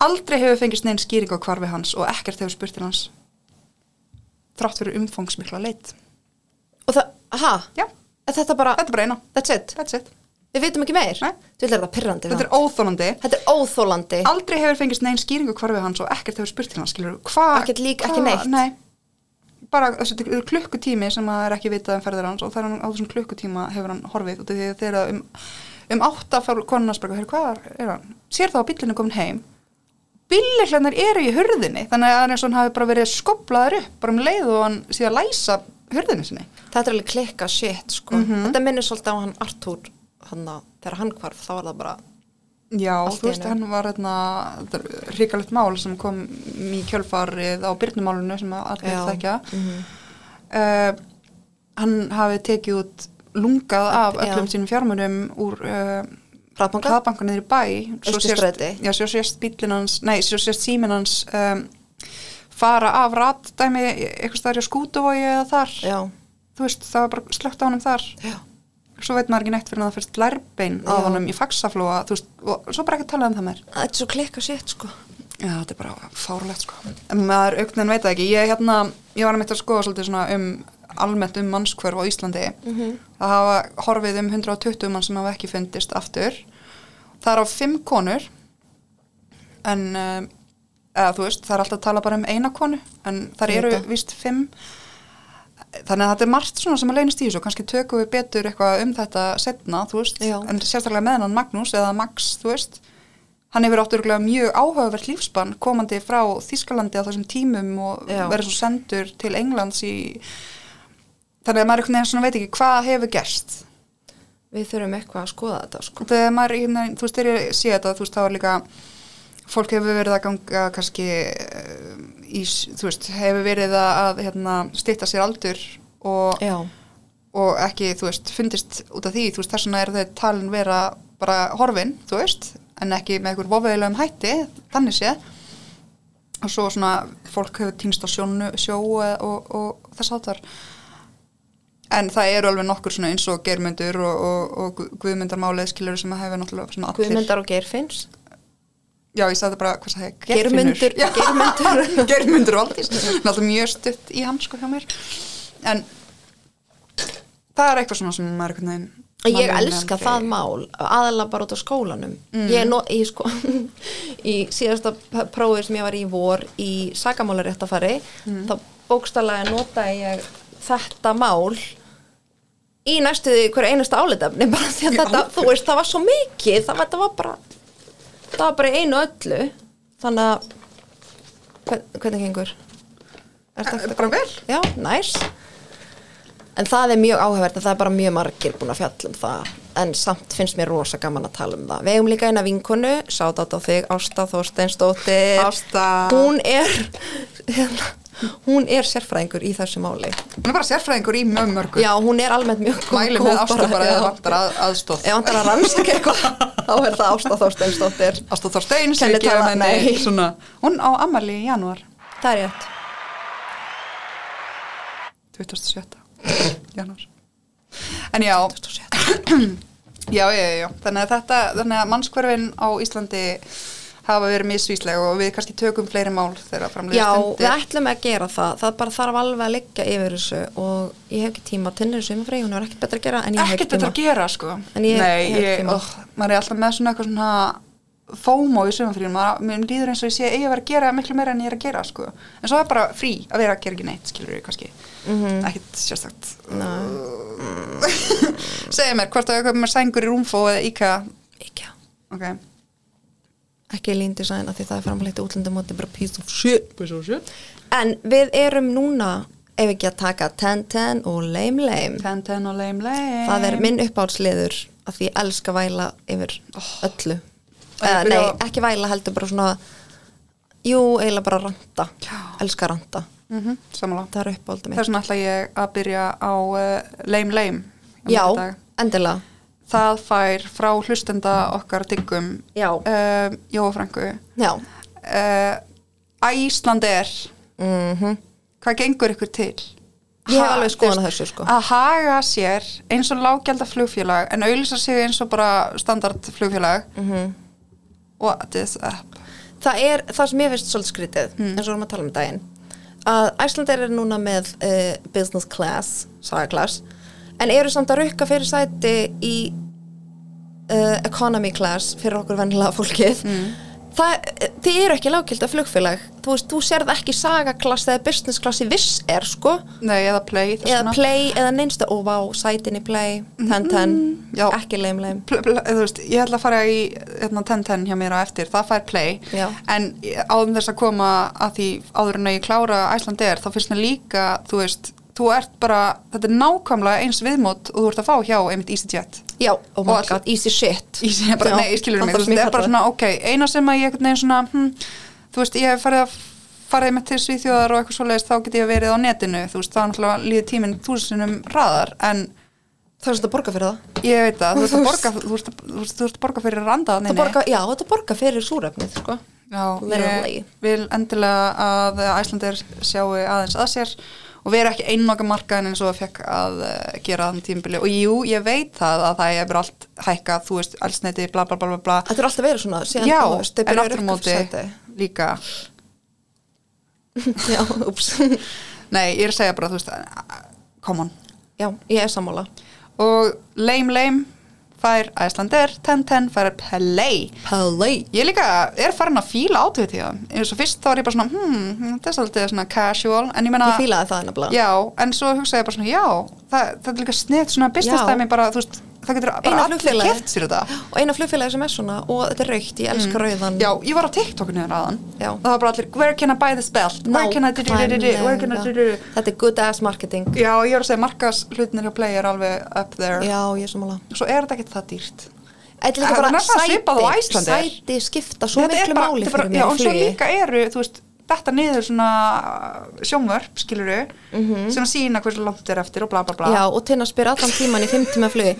Aldrei hefur fengist neinn skýring á hvarfi hans og ekkert hefur spurt til hans. Þrátt fyrir umfangsmikla leit.
Og það, ha?
Já,
Er þetta bara,
þetta er bara eina.
that's it?
That's it.
Við vitum ekki meir?
Nei.
Þú vil er það pirrandi.
Þetta er
það.
óþólandi.
þetta er óþólandi.
Aldrei hefur fengist neinn skýringu hvarfið hans og ekkert hefur spurt til hans, skilur. Hvað?
Ekkert lík, ekki neitt.
Nei. Bara þessi þetta eru klukkutími sem að er ekki vitað um ferðir hans og það er hann á þessum klukkutíma hefur hann horfið út af því að þeirra um, um átta fór konan að spyrja, hér, hvað er hann? Sér þá að bíllinn er komin heim. Bíllirlennar eru í hurðinni, þannig að það er eins og hann hafi bara verið skoplaður upp, bara um leið og hann síðan læsa hurðinni sinni.
Þetta er alveg klikka shit, sko.
Mhm.
Þetta minnir svolítið á hann Artúr, hann að þegar hann hvarf, þá var það bara,
Já,
Allt
þú
í
veist,
einu.
hann var hérna, ríkalegt mál sem kom í kjölfarið á byrnumálunu sem að allir
Já. Mm. Mhm.
þekkja. uh, hann hafi tekið út lungað af
Já.
öllum sínum fjármunum úr uh,
hraðbanka?
hraðbankan niður í bæ. Svo sést-
Austurstræti.
Já, svo sést bílinn hans, nei, svo sést síminn hans um, fara af ratdæmi eitthvað staðar hjá skútuvogi eða þar.
Já,
Þú veist, það var bara slögt á honum þar
já.
svo veit maður ekki neitt fyrir að það fyrst lærbein á
Já.
honum í faxaflóa þú veist, og svo bara ekki að tala um það meir
Þetta er svo klikka shit, sko.
Já, þetta er bara fárlegt sko En maður augnin veit það ekki Ég, hérna, ég var meitt að skoða svolítið svona um almennt um mannskvörf á Íslandi Það hafa horfið um 120 mann sem hafa ekki fundist aftur Það er á fimm konur En eh, eða þú veist, það er alltaf að tala bara um eina konu En þar
Ég veit
eru
það.
víst fimm þannig að þetta er margt svona sem að leynast í þessu og kannski tökum við betur eitthvað um þetta setna, þú veist,
Já.
en sérstaklega með hennan Magnús eða Max, þú veist hann hefur átturuglega mjög áhugavert lífspann komandi frá Þískalandi á þessum tímum og
Já.
verið svo sendur til Englands í þannig að maður einhvern veginn svona veit ekki hvað hefur gerst
Við þurfum eitthvað að skoða þetta sko.
þegar maður, hérna, þú veist, þegar ég sé þetta þú veist, þá er líka fólk hefur verið að ganga kannski eh, í, s- þú veist, hefur verið að, að hérna, stýtta sér aldur og,
Já,
og ekki, þú veist, fundist út af því, þú veist, þess vegna er þau talin vera bara horfin, þú veist en ekki með einhver vofiðilegum hætti þannig sé og svo svona, fólk hefur týnst á sjónu, sjó og, og, og þess áttar en það eru alveg nokkur svona eins og germyndur og, og, og Gu- guðmyndarmálið skilur sem að hefur náttúrulega svona allir
Guðmyndar og Geirfinns
já, ég sagði bara, hvað sagði ég,
Geirmundur-
Já.
Geirmundur.
Geirmundur Valdís náttúrulega mjög stutt í hann sko hjá mér en það er eitthvað svona sem maður einhvern veginn
Ég
maður
elska
aldrei- Mm.
það mál, aðalega bara út á skólanum. Ég, no, ég sko, í síðasta p- prófið sem ég var í vor í sakamálaréttafari,
Mm.
þá bókstallega notaði ég þetta mál í næstu því hverju einasta álitefni, bara því að
Í
þetta,
alvöru?
þú veist, það var svo mikið, það, var- þetta var bara, það var bara í einu öllu, þannig að, hvern, hvernig gengur? Er
Eh, bara vel
Já, næs En það er mjög áhugavert að það er bara mjög margir búin að fjalla um það en samt finnst mér rosa gaman að tala um það Við eigum líka eina vinkonu, sátátt á þig Ásta Þorsteinsdóttir
Ásta.
Hún er hérna, hún er sérfræðingur í þessu máli
hún er bara sérfræðingur í mjög mörgu
Já, hún er almennt mjög góð
mæli með ástu bara
já.
eða vantar að, aðstóð
Ef vantar að rannsaka eitthvað þá er það Ásta Þorsteinsdóttir
Ástu Þorsteins
Kennitala-
við gefum henni
nei.
svona, hún á ammali í janúar
Það er rétt
27. janúar en já já, já, já, já. þannig að þetta þannig að mannskverfin á Íslandi hafa verið misvísleg og við kannski tökum fleiri mál þegar framlega
Já, við
stundir
ætlum að gera það það bara þarf alveg að liggja yfir þessu og ég hef ekki tíma til þessu sumarfrí, hún er ekkert betra að gera en ég hef
ekkert
ekki tíma
þetta að gera sko
En ég-
nei,
ég hef ekki
ég,
tíma.
oh, maður er alltaf með svona eitthvað svona fómo í sumanfríðum, mér líður eins og ég sé ég var að gera miklu meira en ég er að gera sko en svo er bara frí að vera að gera ekki neitt skilur ég kannski,
Mhm.
ekkert sérstakt segja mér hvort að auðvitað með sængur í rúmfó eða íka
ekki,
ok,
ekki lín design af því það er framleitt útlundum og þetta er bara piece of shit, piece of shit. en við erum núna ef ekki að taka 10-10 og lame lame
ten ten og leim leim
það er minn uppáhaldsliður af því ég elska væla yfir öllu
Að Oh. ég
Eða,
byrja
nei,
á-
ekki væla heldur bara svona jú, eiginlega bara ranta
Já.
elska ranta,
mm -hmm, samanlá
það er uppáhaldið mitt
þess vegna ætla ég að byrja á uh, leim leim um þetta
já,
dag.
endilega
það fær frá hlustenda okkar diggum
Já.
uh, Jóa Franku
já,
uh, Æsland er
mhm
Mm-hmm. hvað gengur ykkur til?
Ég hef
Ha,
alveg
þú
skoðun á
veist,
þessu, sko.
að haga sér eins og lággjaldar flugfélag en auðlýsa sig eins og bara standard flugfélag -hmm.
Mhm.
what is up?
það er það sem ég veist svolítið skrítið
Hmm.
eins og vorum að tala um daginn að Æslandir er núna með uh, business class, sagaklass en eru samt að rukka fyrir sæti í uh, economy class fyrir okkur vennilega fólkið
Hmm.
það, eh, þið eru ekki lágkilda flugfélag þú veist, þú sérð ekki sagaklass eða business class í viss er sko
nei, eða play þess
eða
vegna.
play eða neinsta, ó vá, sætin í play ten ten,
Hmm. já.
ekki leim leim
Pl- pl- þú veist, ég ætla að fara í hérna, 10-10 hjá mér á eftir, það fær play
Já.
en áðum þess að koma að því áður en að ég klára Æsland er þá finnst mér líka, þú veist þú ert bara, þetta er nákvæmlega eins viðmót og þú ert að fá hjá einmitt EasyJet
já, oh my
Og all-
god, easy shit
Easy, bara,
Já,
nei, ég skilur
það
mig,
þarf
þú veist,
sem ég
það er bara
kallaði.
svona ok, eina sem að ég einhvern veginn svona hm, þú veist, ég hef farið að farið með til Svíþjóðar og eitthvað svoleiðist þá get ég verið á netinu, þú veist, þá náttúrulega líði tíminn þúsinum raðar, en
það er svona að borga fyrir það
ég veit það, þú ert að borga þú ert að, þú ert, þú ert að borga fyrir randaðninni
Þetta borga, já, þetta borga fyrir súrefnið, sko.
Já,
Literally.
ég vil endilega að æslandir sjáu aðeins að sér og vera ekki einnokka markaðin eins og það fekk að eh, gera þann tímbili og jú, ég veit það að það er bara allt hækkað, þú veist, allsneiti, bla bla bla bla bla
Þetta er alltaf verið svona, síðan,
Já,
þú veist, þau
en
byrja að
aftur á
rukka
móti
fyrir sæti.
líka
Já, ups.
Nei, ég er að segja bara, þú veist, eh, come on
já, ég er sammála.
og lame lame fær Æslander, Tenten fær Play
Play
Ég líka er farin að fíla átvitið það eins og fyrst þá var ég bara svona hmm, þetta er svolítið svona casual en ég meina
Ég fílaði það nefnilega
Hérna- Já, en svo hugsaði ég bara svona já, það, það er líka snett svona business
Já.
dæmi bara, þú veist, það getur bara
Eina
allir
flugfélagi
keft sér þetta Mm.
Og eina flugfélagi sem er svona Og þetta er raukt, ég elska rauðan
Já, ég var á TikTokinu hérna áðan
Já.
og það var bara allir, where can I buy this belt where can I do do do do where can I do do
Nákvæmlega. Þetta er good ass marketing
Já, ég var að segja markas hlutinir hjá Play er alveg up there
Já, ég er sammála
Svo er þetta ekki það dýrt
Þetta er
Það
líka
er
bara
nefnilega svipað og
sæti
Iceland er.
Sæti skipta svo
Þetta
miklu
er bara-
máli
þetta er bara-
fyrir mér
Já,
í
en svo
flugi
líka eru, þú veist, þetta niður svona uh, sjónvörp, skilur við sem að sína hversu langt er eftir og bla bla bla
Mhm. Já, og Tinna spyr allan tíman í 5 tíma flugi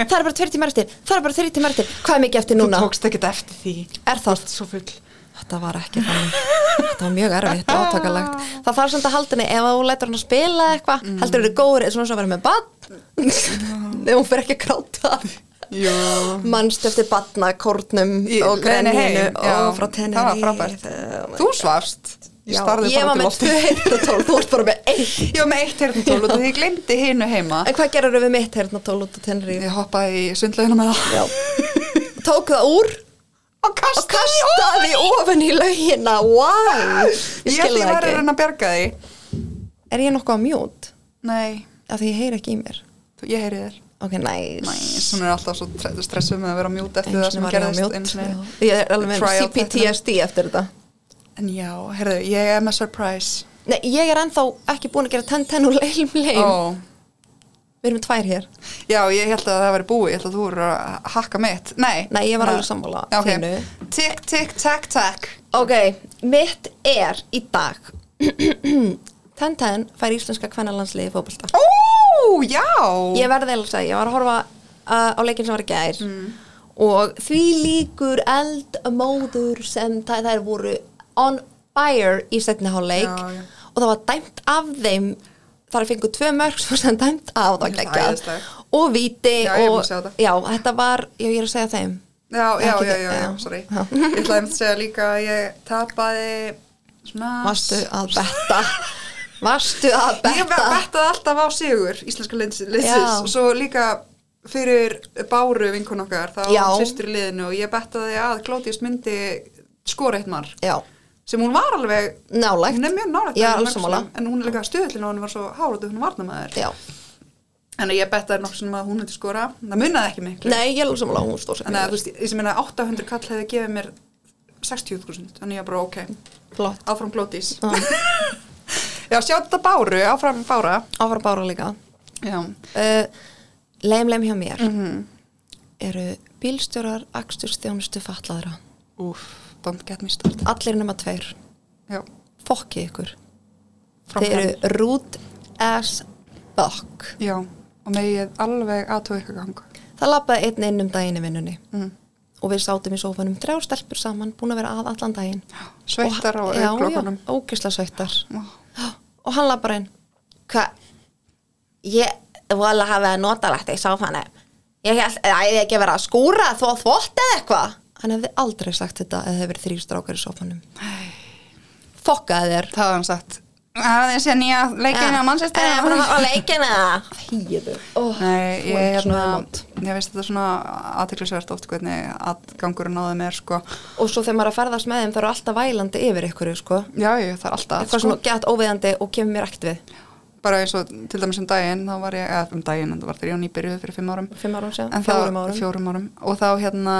Það er bara 2 tíma eftir, það er bara 3 tíma eftir Hvað er mikið eftir
Þú
núna?
tókst ekkert eftir því
Er það?
Þú ert Svo full
Þetta var ekki þannig Þetta var mjög erfitt og átakalegt Það þarf samt að halda henni ef þú lætur hann að spila eitthvað mm. heldur henni góður eins og að vera með bann
Mm.
Nei, hún fyrir ekki að gráta
Já
Manst eftir barnakórnum
Í-
og
leiðinni
grenjinu
heim, já.
og frá tenni
Það var frábært. Þú svafst
Já,
Ég starði
ég
bara
var
út í
með
loftið.
2 heyrnatól, þú ert bara með 1
Ég var með eitt heyrnatól og því ég glemdi hinu heima
En hvað gerur við mitt heyrnatól út á tenni?
Ég hoppaði í sundlaugina með það
Já. Tók það úr
Og
og
kastaði
kastaði ofan í laugina Why? Ég
Ég
skil
held ég var
það
að
ekki
reyna að bjarga því
Er ég nokkuð á mjút?
Nei,
Af því ég heyri ekki í mér
þú- ég heyri þér
Ok, nice,
Næs, hún er alltaf svo tre- stressuð með að vera mjút eftir
Einu
það
sinni
sem
var ég á
gerðist
mjút,
einu sinni.
já. Ég er alveg með
Trial þetta.
CPTSD eftir þetta
En já, heyrðu, ég er með surprise
Nei, ég er ennþá ekki búin að gera 10-10 úr leilum leil
Ó.
Við erum með tvær hér
Já, ég held að það væri búið, ég held að þú voru að hakka mitt Nei,
Nei, ég var alveg sammála
Já, ok.
þínu.
Tick, tick, tack, tack
Ok, mitt er í dag 10-10 fær íslenska kvennalandsliði fótbolta
Ó, já
Ég verði eða að segja, ég var að horfa uh, á leikin sem var í gær
Mm.
og því líkur eldmóður sem það, þær voru on fire í setni hálfleik
Já, já.
og það var dæmt af þeim þar fengu tvö mörg svo sem dæmt af það
Ég er
geggjað
æðislegt.
og viti
Já, ég er búin
og
að sjá þetta.
já, þetta var, já, ég er að segja þeim
Já, já,
Ekki
já,
þi-
já,
já.
já, sorry
Já.
Ég ætlaði einmitt að segja líka að ég tapaði svona
Varstu að betta Varstu að
Ég
betta
bettaði alltaf á sigur íslenska liðs- liðsins
Já.
og svo líka fyrir Báru vinkun okkar þá
Já.
sýstur í liðinu og ég bettaði að Glótius myndi skora eitt mark
Já,
sem hún var alveg
Nálægt.
hún er mjög nálægt
Já,
að
alveg
mörgum
sammála.
sinnum, en hún er líka stuðullin og hún var svo hárútu hún varna maður
já
en ég bettaði nokkuð sem að hún myndi skora það munnaði ekki miklu
Nei, ég er alveg sammála, hún stóð
þannig að þú
sér
veist, ég sem meina 800 kall hefði gefið mér 60.000, þannig ég bara ok
Flott
áfram glótis
Já.
já, sjá þetta Báru, áfram Bára
Áfram bára líka
já,
uh, leim leim hjá mér eru bílstjórar aksturstjónustu fatlaðra
úf, don't get me started
allir nema tveir,
já,
fokkið ykkur
fram
þeir eru root as fuck
já, og megið alveg aðtóð ykkur gang
það lappaði einn inn um daginn í vinnunni
mm.
og við sátum í sófanum þrjár stelpur saman búin að vera að allan daginn
sveittar á
Og- já,
auðlokunum
já, ógisla sveittar
Ó.
og hann lappar inn hvað ég vola hafi að nota lætt ég sá hann ég æði ekki að vera að skúra þó að þvott eða eitthvað hann hefði aldrei sagt þetta eða hefði verið þrýr strákar í sofanum fokkaði þér
það hafði hann sagt að þið sé nýja leikinu á mannsestir
Eða bara á leikina hýðu
Nei, ég, hérna, ég veist þetta er svona aðtiklisvert oft hvernig aðgangurinn á þeim er sko.
og svo þegar maður er að ferðast með þeim það eru alltaf vælandi yfir ykkur sko.
Já, ég, það er alltaf sko.
eitthvað svona gett óviðandi og kemur mér ekkert við
bara eins og til dæmis um daginn þá var ég, eða um daginn, en það var þegar ég var nýbyrjuð fyrir fimm árum
Fimm árum síðan,
En þá-
fjórum árum.
fjórum árum og þá hérna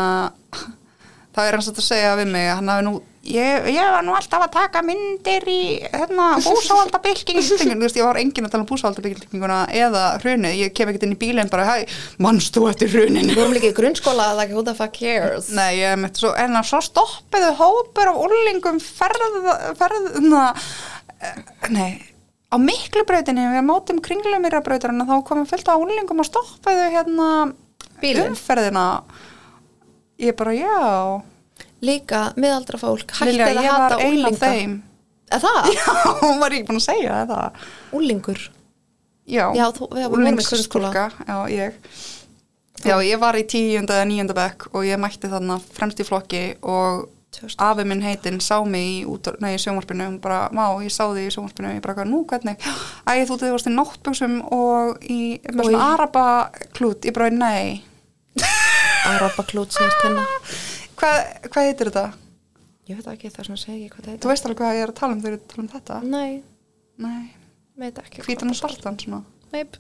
þá er hann svolítið að segja við mig að hann hafi nú, ég, ég var nú alltaf að taka myndir í hérna, búsáhaldabylkingu, þú veist ég var enginn að tala um búsáhaldabylkinguna eða hrunið ég kem ekkert inn í bílinn bara, hæ, manst þú eftir hruninu
við vorum líka í grunnskóla like who the fuck cares
Nei, ég mitt svo, en að svo stoppiðu hópur af úlingum ferða, ferðna, eh, nei, á miklu brautinni, við mótum kringlumýra brautarinn þá komum fullt af úlingum og stoppiðu hérna
Bílinn.
umferðina. Ég bara, já,
líka miðaldra fólk hættið
Lilja,
að
ég
hata
var ein af
úlinga
þeim.
Er það?
Já, hún var ekki búin að segja það.
Úlingur
Já,
Já, þú- við vorum í
unglingsstúlka,
grunnskóla.
Já, ég. Já, ég var í tíunda eða níunda bekk og ég mætti þarna fremst í flokki og
Tjóst.
afi minn heitinn sá mig í, út, nei, í sjónvarpinu og bara, má, ég sá þig í sjónvarpinu ég bara, nú, hvernig? Æ, þú þið varst í náttböksum og í, með
Oj.
svona araba klút, ég bara, nei
að robba klút sem er tenna
Hvað, hvað heitir þetta?
ég veit það ekki, það er svona að segja ekki hvað það
Þú veist alveg hvað ég er að tala um þegar ég tala um þetta?
heitir nei,
Nei,
veit ekki
hvítan og svartan svona.
Neip.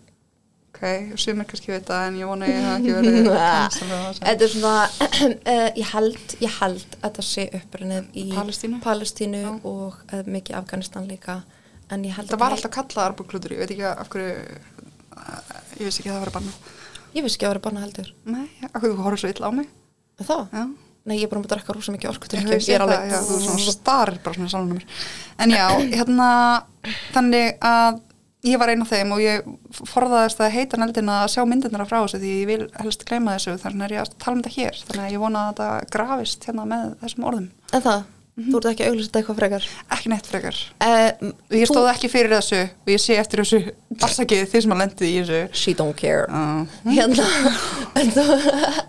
Ok, sumir kannski veit það en ég vona ég hafa ekki verið tannsamlega það sem.
þetta er svona uh, ég held, ég held að það sé upprunnið í
Palestínu?
Palestínu og uh, mikið Afganistan líka en ég held
Þetta var alltaf kallað arbúrklútur, ég veit ekki af hverju, eh, ég vissi ekki að það var að banna.
ég vissi ekki að vera banna heldur
Nei, af hverju þú horfður svo illa á mig?
en þá,
Já.
nei ég er bara að drakka rosa mikið orku
Ég hef
ég er
séð það, já, þú er svona starir bara svona í salnum á mér. En já, hérna, þannig að ég var einn af þeim og ég forðaðist að heita neldina að sjá myndirnar frá þessu því ég vil helst gleyma þessu þannig er ég að tala um þetta hér þannig að ég vona að þetta grafist hérna með þessum orðum.
en það,
Mhm.
þú ert ekki að auglýsa þetta eitthvað frekar
Ekki neitt frekar.
uh,
Eh, Ég stóð ekki fyrir þessu og ég sé eftir þessu afsakið þið sem að lendið í þessu.
she don't care
Uh,
hérna en, þó-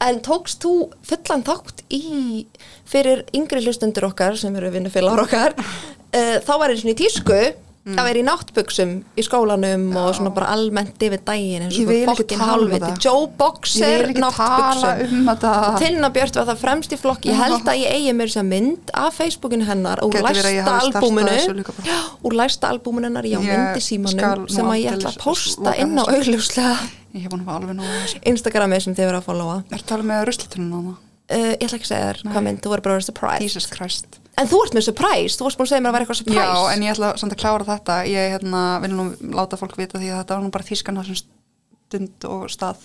en tókst þú fullan þátt í fyrir yngri hlustundur okkar sem eru vinnufélagar okkar uh, þá var eins og í tísku
Mm.
að vera í náttbuksum í skólanum og svona bara almennt yfir daginn eins og
Ég vil ekki
fokkin
tala um
hálfviti
þetta.
Joe
ég
Boxer
vil ekki tala
náttbuksum
um þetta.
Tinna Björt var það fremst í flokk ég held að ég eigi mér þess að mynd af Facebookinu hennar úr
Gæti verið að ég
læsta
hafi startað
albúminu
þessu líka bara.
Já, úr læsta albúminu hennar já,
Ég
myndi
skal
símanum
nú
sem að ég ætla
aldeilis
að posta
loka
inn á
þessu.
augljóslega
Ég hef búin að fá alveg nóg. af þessu.
Instagramið sem þið verða að followa
Ekki tala um með ruslatunum á það.
uh, Ég ætla ekki að segja þér hvað mynd, þú verður bara að vera surprise
Jesus Christ.
En þú ert með surprise, þú varst búin að segja mér að vera eitthvað surprise
Já, en ég ætla samt að klára þetta ég hérna, vil nú láta fólk vita því að þetta var nú bara þýskan þessum stund og stað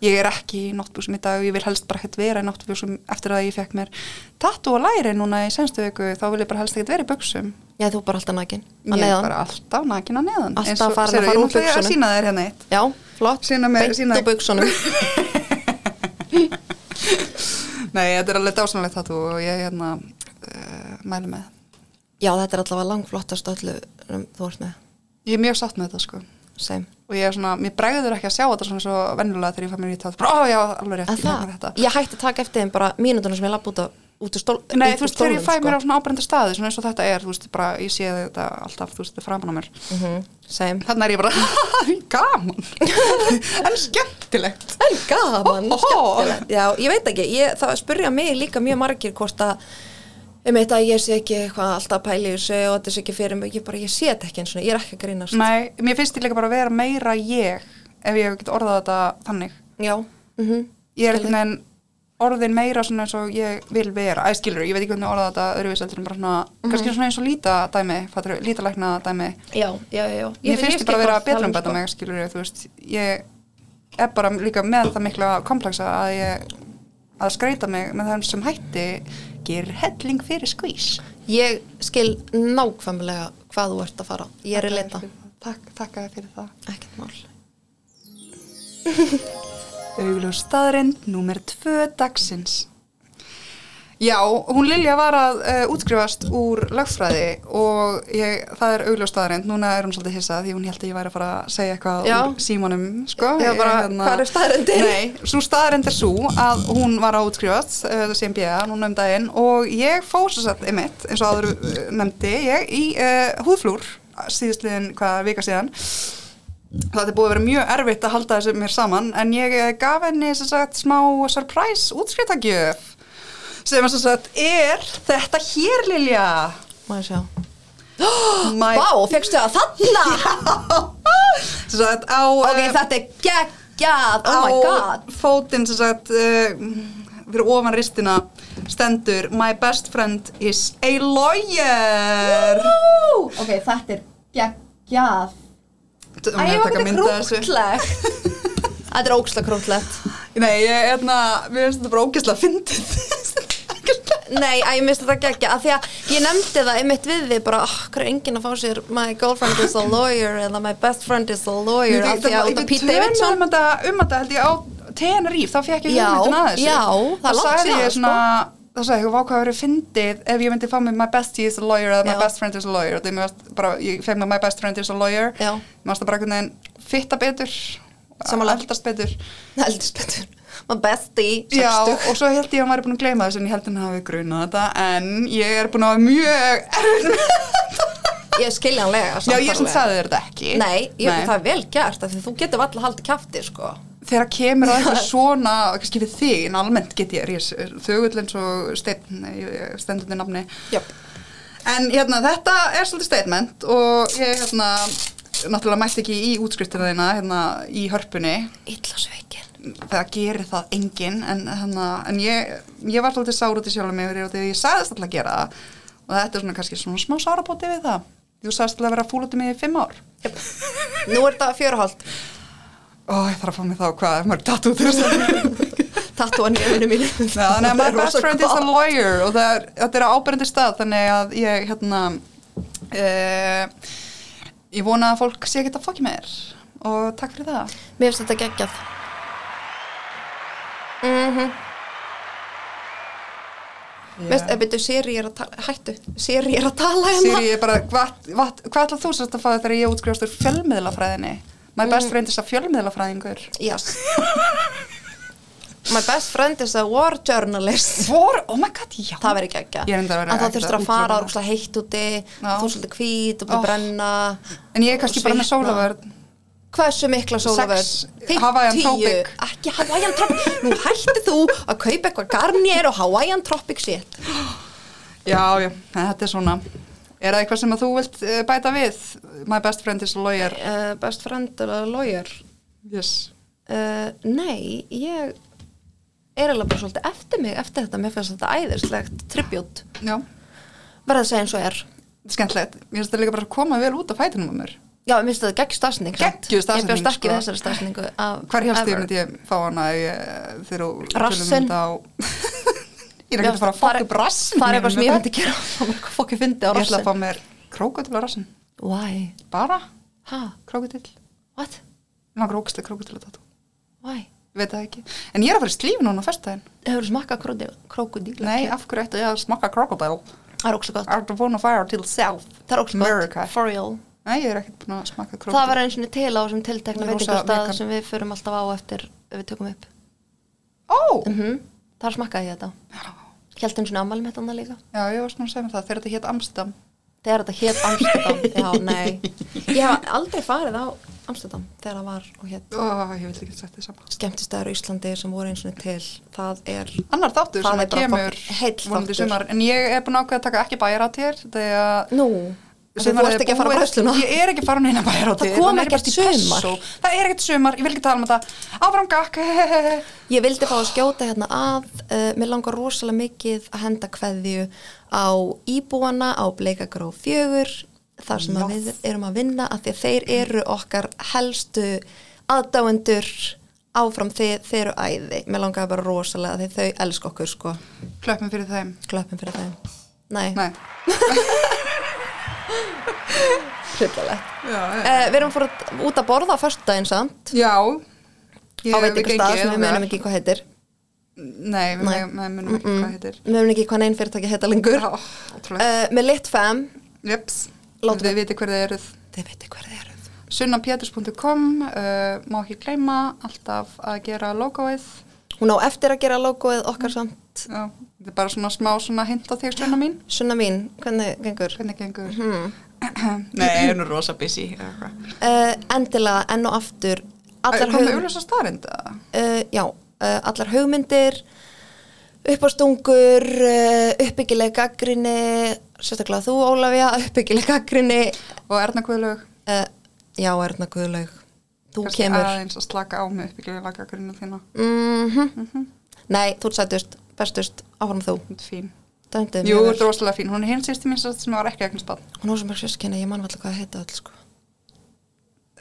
ég er ekki í náttbúsum í dag og ég vil helst bara ekkert vera í náttbúsum eftir að ég fekk mér tattu og læri núna í senstu viku þá vil ég bara helst ekkert vera í buksum
Já, þú er bara alltaf nakin
ég er bara alltaf nakin að neðan
Alltaf
Eins og-
farin að
sérðu,
fara úr
ég ætla að
buxunum.
sína þér hérna eitt
Já, flott,
Sýna mér-
beint
sýna-
úr buksunum
nei, þetta er alveg dásanlegt tattu og ég hérna uh, mælu með
Já, þetta er allavega langflottast öllu um, þú ert með,
ég er mjög satt með þetta sko
sem
og ég er svona, mér bregður ekki að sjá þetta svona svo vennulega þegar ég fæ mér í tát bara, ó já, alveg rétt,
En
ég fæ mér
það,
þetta
ég hætti að taka eftir þeim bara mínútuna sem ég lapp út, á- út úr stól
Nei,
út úr
þú veist, þegar ég
stólnum,
fæ mér á
sko.
svona ábrenda staði svona eins og þetta er, þú veist, bara ég sé þetta alltaf, þú veist, þetta er framan á mér
Mhm, Sem
þannig er ég bara, gaman en skemmtilegt
En gaman,
Ho, ho, ho.
skemmtilegt Já, ég veit ekki, ég, það spurja mig líka mjög margir hvort að um þetta að ég sé ekki eitthvað alltaf að pæla í þessu og þetta sé ekki fyrir mig, ég bara, ég sé þetta ekki eins og ég er ekki að grínast
Nei, mér finnst ég líka bara að vera meira ég ef ég hef ekki orðað þetta þannig
Já, mm
ég er einhvern veginn orðin meira svona eins og ég vil vera æ, skilur, ég veit ekki hvernig orða þetta öðruvísi heldur en bara svona, kannski svona eins og líta dæmi fattur, lítalækna dæmi
já, já, já
Mér finnst ég bara að vera betra um þetta
með
með, skilur ég, þú veist, ég er bara líka með það mikla kompleksa að ég, að skreita mig með þeim sem hætti, gerir helling fyrir skvís.
Ég skil nákvæmlega hvað þú ert að fara Ég er í leta,
Takk, takka þér fyrir það.
ekkert mál
Augljós staðrind, númer tvö dagsins. Já, hún Lilja var að uh, útskrifast úr lögfræði og ég, það er augljós staðrind. Núna er hún svolítið hissað því hún held að ég væri að fara að segja eitthvað
Já.
úr símanum, sko.
Já,
Ég-
bara, hvar er staðreyndin?
Nei, svo staðrind er svo að hún var að útskrifast uh, sem bjöða núna um daginn og ég fór svo satt einmitt, eins og aður uh, nefndi, ég í uh, húðflúr síðustliðin, hvað, vika síðan það er búið að vera mjög erfitt að halda þessu mér saman en ég eh, gaf henni sem sagt smá surprise útskriftagjöf sem sem sagt er þetta hér Lilja
Má ég sjá
My,
Vá, fegstu það þarna?
sem sagt á
ok,
eh,
þetta er geggjað, oh
á
my god
fótinn sem sagt uh, fyrir ofan ristina stendur My best friend is a lawyer
Ú, Ok, þetta er geggjað
Æ,
Æ, ég var með krútlegt Þetta er óksla krútlegt
Nei, ég er hérna, mér finnst þetta bara ógæslega fyndið
Nei, að ég misti þetta geggja af því að ég nefndi það einmitt við þig bara, oh, hver er enginn að fá sér my girlfriend is a lawyer eða my best friend is a lawyer af
Við-
því að
við-
út af
við
Pete
tölum
Davidson
um þetta, um þetta held ég á Teneríf, þá fekk ég
Já,
hugmyndin að þessu
já, það er
það
langt
sagði
síðan, sko.
ég svona það sagði ég, vá hvað verið fyndið ef ég myndi fá mig my bestie is a lawyer eða my
Já.
best friend is a lawyer Þegar mér varst bara, ég fekk mig my best friend is a lawyer
Já.
mér varst það bara einhvern veginn fitta betur
Sammála.
eldast betur
Heldist betur, my bestie
Já,
sextug.
og svo held ég að maður er búin að gleyma þessu en ég held hann hafi grunað þetta en ég er búin að hafa mjög erfið með þetta
Ég er skiljanlega
Já, ég sem
sannarlega.
sagði þér þetta ekki
Nei, ég, það er vel gert af því þú getur alltaf haldið kjafti sko
þegar kemur að eitthvað svona kannski við þig, en almennt get ég rís þögull eins og steinn stendundi nafni
Jöp.
en hérna, þetta er svolítið statement og ég hérna náttúrulega mætti ekki í útskriftina þína hérna, í hörpunni
Illa sveikin.
það gerir það enginn en, hana, en ég, ég var svolítið sár út í sjálfum mig yfir því að ég sagðist alltaf að gera það og þetta er svona kannski svona smá sárabóti við það þú sagðist alltaf að vera fúl út í mig í fimm ár
Nú er þetta fjörahald.
Ó, ég þarf að fá mig þá hvað, er maður tattoo til þess að
Tattuan í öfnum mínu.
Já, þannig að
Þetta
my
er
best
rosa
friend is a
gott.
lawyer og það er, þetta er á ábyrjandi stað þannig að ég hérna uh, ég vona að fólk sé ekki að fokki með þér og takk fyrir það
Mér finnst þetta geggjað. Mér finnst, ef byrju, eh, Siri er að tala, hættu, Siri er að tala hérna.
Sýri, ég bara, hvað hva, hva ætlað þú sérst að fá þegar ég útskrifast úr fjölmiðlafræðinni? My best friend is a fjölmiðlafræðingur
Yes. My best friend is a war journalist.
Vor, oh my god, já
Það verður geggja.
Ég reyndar að vera
En
ekkert
það þurftur
að
að fara
útlofa
úr slag heitt úti, þú
Já.
er svolítið hvít og búin
Oh.
að brenna.
En ég er kannski
og
bara með
svitna.
sólavörð
Hversu mikla sólavörð?
Sex Hawaiian Tropic.
Ekki Hawaiian Tropic. Nú hætti þú að kaupa eitthvað Garnier og Hawaiian Tropic shit.
Já, já, þetta er svona Er það eitthvað sem að þú vilt eh, bæta við? My best friend is a lawyer
Uh, best friend er að lawyer.
Yes
Uh, nei, ég er eiginlega bara svolítið eftir mig eftir þetta. Mér finnst þetta æðislegt tribut.
Já,
Verða að segja eins og er.
skemmtilegt, mér finnst það líka bara að koma vel út af fætinum á mér
Já, mér finnst þetta gegn stafsning.
Geggjuð stafsetning,
Ég bjóst ekki
sko.
við þessari stafsningu.
hvar hjálst ég myndi ég fá hana ef ég- þegar þú tölum
Rassinn.
um þetta á ég er ekki að fara að fá upp rassin
Það er eitthvað sem ég
Ég
myndi gera. Það var eitthvað fokkið fyndi á
ég ætla
rassin.
að fá mér krókutill á rassin
Why?
bara
Ha?
krókutill
What?
langar ógstlega krókutill að tattu
Why?
veit það ekki, en ég er að fara í slífi núna á fyrstæðin
Hefur smakkað krókudíl? Krókudíl?
nei, af hverju ætti ég að smakka krokodil
Það er ógstu gott.
out of one fire till south
Það er ógstu
America.
gott. For real.
nei, ég er ekkert búin að smakka
Það var
krokodil
eins og til á þessum tiltekna
Ég er rosa
veitingastað
vegan.
sem við förum alltaf á eftir ef við tökum upp.
ó,
Mhm. Þar smakkaði ég þetta. Hjælt eins og ammali með þetta líka.
já, ég var svona að segja mér það þegar þetta hétt Amsterdam
Þegar þetta hétt Amsterdam. Já, nei. Ég hef aldrei farið á Amsterdam þegar það var og hétt
ó, ég vildi ekki sagt því sama
skemmtistæður í Íslandi sem voru eins og til. Það er,
annar þáttur
Það
sem
er
að
bara
kemur
fokkin heill
vonandi í
þáttur.
sumar, en ég er búin að ákveða að taka ekki bæjaráttir þegar
nú, þú vorst ekki að fara á bræðsluna.
ég er ekki að fara á neina bæjaráttir
Það kom ekkert sumar.
það er ekkert sumar, ég vil ekki tala um þetta áfram gakk
Ég vildi fá að skjóta hérna að, uh, mér langar rosalega mikið að henda kveðju á íbúana á Bleikagróf 4, þar sem að við erum að vinna, af því að þeir eru okkar helstu aðdáendur áfram þeir, þeir eru æði. Mér langar bara rosalega að þau elska okkur, sko,
klöppum fyrir þeim
klöppum fyrir þeim. Nei,
nei,
hryllilegt.
já, já.
Uh, við erum fór út að borða á föstudaginn samt,
já
á veitingastað sem við munum ekki hvað heitir.
um nei, við
Nei.
munum- nei, munum ekki hvað heitir
Við munum ekki hvað neinn fyrirtæki heita lengur.
Já, ótrúlegt.
Uh, með Litfam,
Jeps.
Látum
þið viti hver þið eruð
þið veitir hver þið eruð.
sunnapjetus.com uh, má ekki gleyma alltaf að gera logoið
Hún á eftir að gera logoið okkar samt.
Já, þetta er bara svona smá svona hint á þig svona mín
Sunna mín, hvernig gengur?
hvernig gengur
Mhm.
Nei, ég er nú rosa busy
Uh, endilega, enn og aftur, allar,
Komum við
hug,
auðvitað starrend
uh, já, uh, allar hugmyndir, uppástungur, uh, uppbyggileg gaggrinni, sérstaklega þú Ólafja, uppbyggileg gaggrinni,
og Erna Guðlaug
uh, já Erna Guðlaug, þú
kannski
kemur.
aðeins að slaka á mig uppbyggilega lagagrinu þína
Mm
Mhm.
Nei, þú ert sætust, bestust, áfram þú.
Þetta er fín
Dæmdið
Jú,
mjög
þetta er
vel.
rosalega fín, hún er hinn sýsti mín sem sem var ekki eignast bann
Hún á sem er sérskynna, ég man alltaf hvað það heita öll, sko.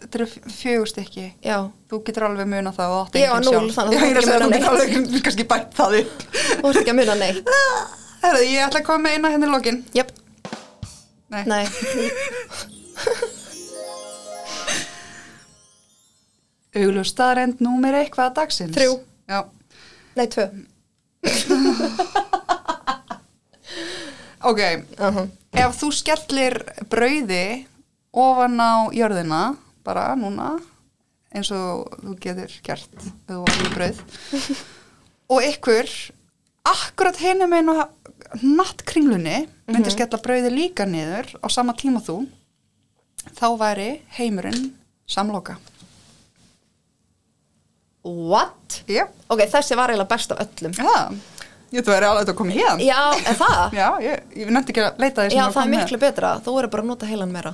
Þetta eru f- fjögur stykki
Já,
Þú getur alveg muna það og átt
Ég á
engin
núll,
sjálf.
þannig að þú
Já, ég er að
getur ekki
segja, þú
munað
getur alveg kannski bætt það upp
þú ert ekki að muna neitt.
Herðu, ég ætla að koma með eina henni lokin
Jöp,
Nei.
nei.
Augljós staðreind númer eitthvað dagsins
Þrjú.
Já,
Nei, tvö.
ok
Uh-huh.
Ef þú skellir brauði ofan á jörðina, bara núna, eins og þú getur gert ef þú ofan í brauð, og ykkur, akkurat hinum einu natt kringlunni, myndi
Mhm.
skella brauði líka niður á sama tíma og þú, þá væri heimurinn samloka.
what?
Já.
Ok, þessi var eiginlega best af öllum
Já, Ah, ég þú verið alveg að koma hér
Já, er það?
Já, ég, ég nefndi ekki að leita því
Já, það er miklu betra, þú verður bara að nota heilan meira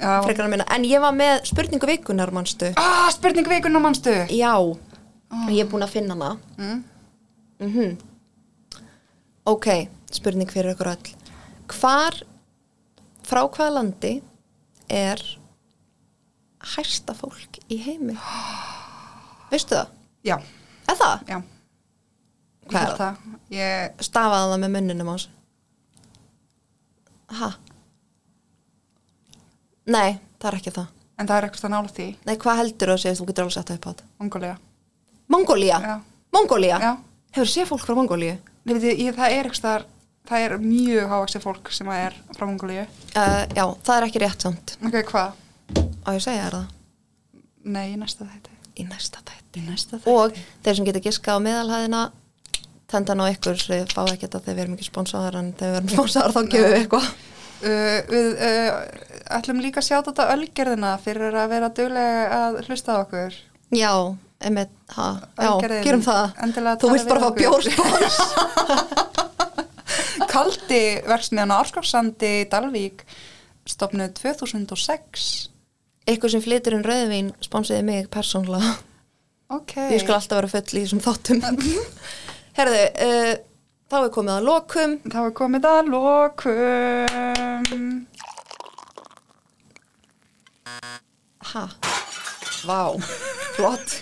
Já.
frekar að minna, en ég var með spurningu vikunar manstu,
Ah, spurning vikun og mannstu
já ég er búin að finna hana mm. ok, spurning fyrir ykkur öll hvar frá hvaða landi er hæsta fólk í heimi veistu það?
Já,
Er það?
já Ég
Hvað er
held
það?
það Ég,
Stafaði það með munninum ás Ha? Nei, það er ekki það
en það er eitthvað að nála því
Nei, hvað heldur þú að segja? Þú getur alveg sett það upp á þetta
Mongolia
Mongólia?
Já.
Mongólia?
Já.
Hefur séð fólk frá Mongóliu?
Nei, veit ég, ég- það er eitthvað að Það er mjög hávaxið fólk sem að er frá Mongolíu
Uh, já, það er ekki rétt samt
Ok, hvað?
Á ég að segja þér það
Nei, í næsta þetta
Í næsta þætti
Í næsta
Og þeir sem geta giskað á meðalhæðina Tendan á ykkur, þið fá ekki þetta þegar við erum ekki sponsaðar en þegar við erum sponsaðar þá gefum við eitthvað
Uh, við uh, ætlum líka að sjá þetta ölgerðina fyrir að vera duglega að hlusta á okkur.
Já, emið, ha, já,
Ölgerðin.
gerum það
Endilega
Þú
tala
vilt bara
við
fá sko.
okkur.
bjórspons
Kaldi verksmiðan á Árskóksandi í Dalvík stopnuð 2006.
Eitthvað sem flytur um rauðvín sponsiði mig persónlega
Ok. Mhm.
Ég skal alltaf vera full í þessum þáttum Herðu, uh, þá er komið að lokum
Þá er komið að lokum.
Ha, vá, flott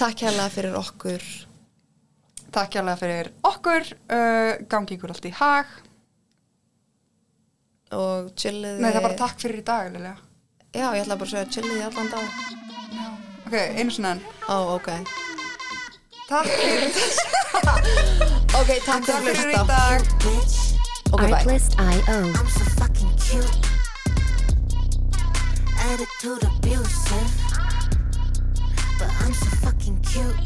Takk hérlega fyrir okkur
Takk hérlega fyrir okkur. Uh, gangi ykkur allt í hag.
og chilliði
Nei, það er bara takk fyrir í dag, Lilja.
Já, ég ætla bara að segja chilliði allan dag
Ok, einu sinna enn.
Ó, ok
Takk fyrir,
Ok, takk
takk
fyrir að
fyrir í
hlusta
dag.
bitch.
Ok, bye
Artlist.io.
I'm so fucking cute. Attitude abusive. But I'm so fucking cute.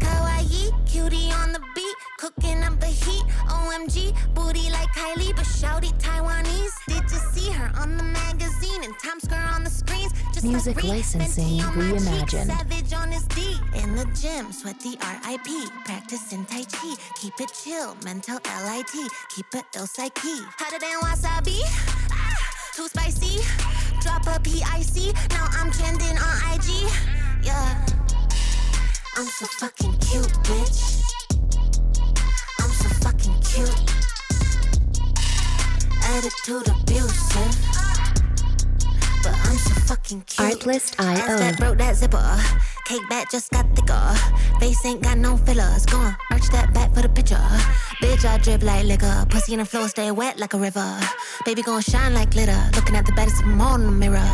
Kawaii, cutie on the beat. Cooking up the heat. OMG, booty like Kylie, but shouty Taiwanese. Did you see her on the magazine and Times Square on the screens? Just
Music
like Reed,
licensing
Fenty on my cheek,
reimagined.
Savage on his D. In the gym, sweat the RIP. Practicing Tai Chi. Keep it chill, mental LIT. Keep it ill psyche. Hotter than wasabi. Ah, too spicy. Drop a PIC. Now I'm trending on IG. Yeah. I'm so fucking cute, bitch. I'm so fucking cute. Attitude abusive. But I'm so fucking cute.
Artlist.io.
Eyes that broke that zipper. Cake back just got thicker. Face ain't got no fillers. Go on, arch that back for the picture. Bitch, I drip like liquor. Pussy in the floor, stay wet like a river. Baby gon' shine like glitter. Looking at the baddest of 'em all in the mirror.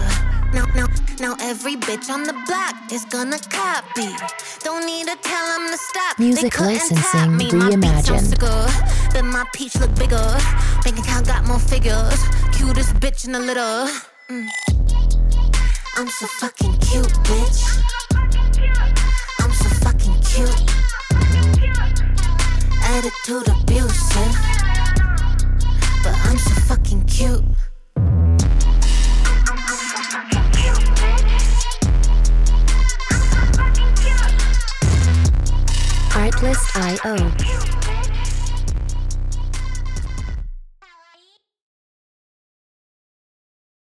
Now, now, now every bitch on the block is gonna copy. Don't need to tell 'em to stop. they
Music
couldn't top
licensing
me. My beats sound
reimagined.
bigger, but my peach look bigger. Bank account got more figures. Cutest bitch in the litter. Mm. I'm so fucking cute, bitch. I'm so fucking cute. Attitude abusive, but I'm so fucking cute.
Artlist.io.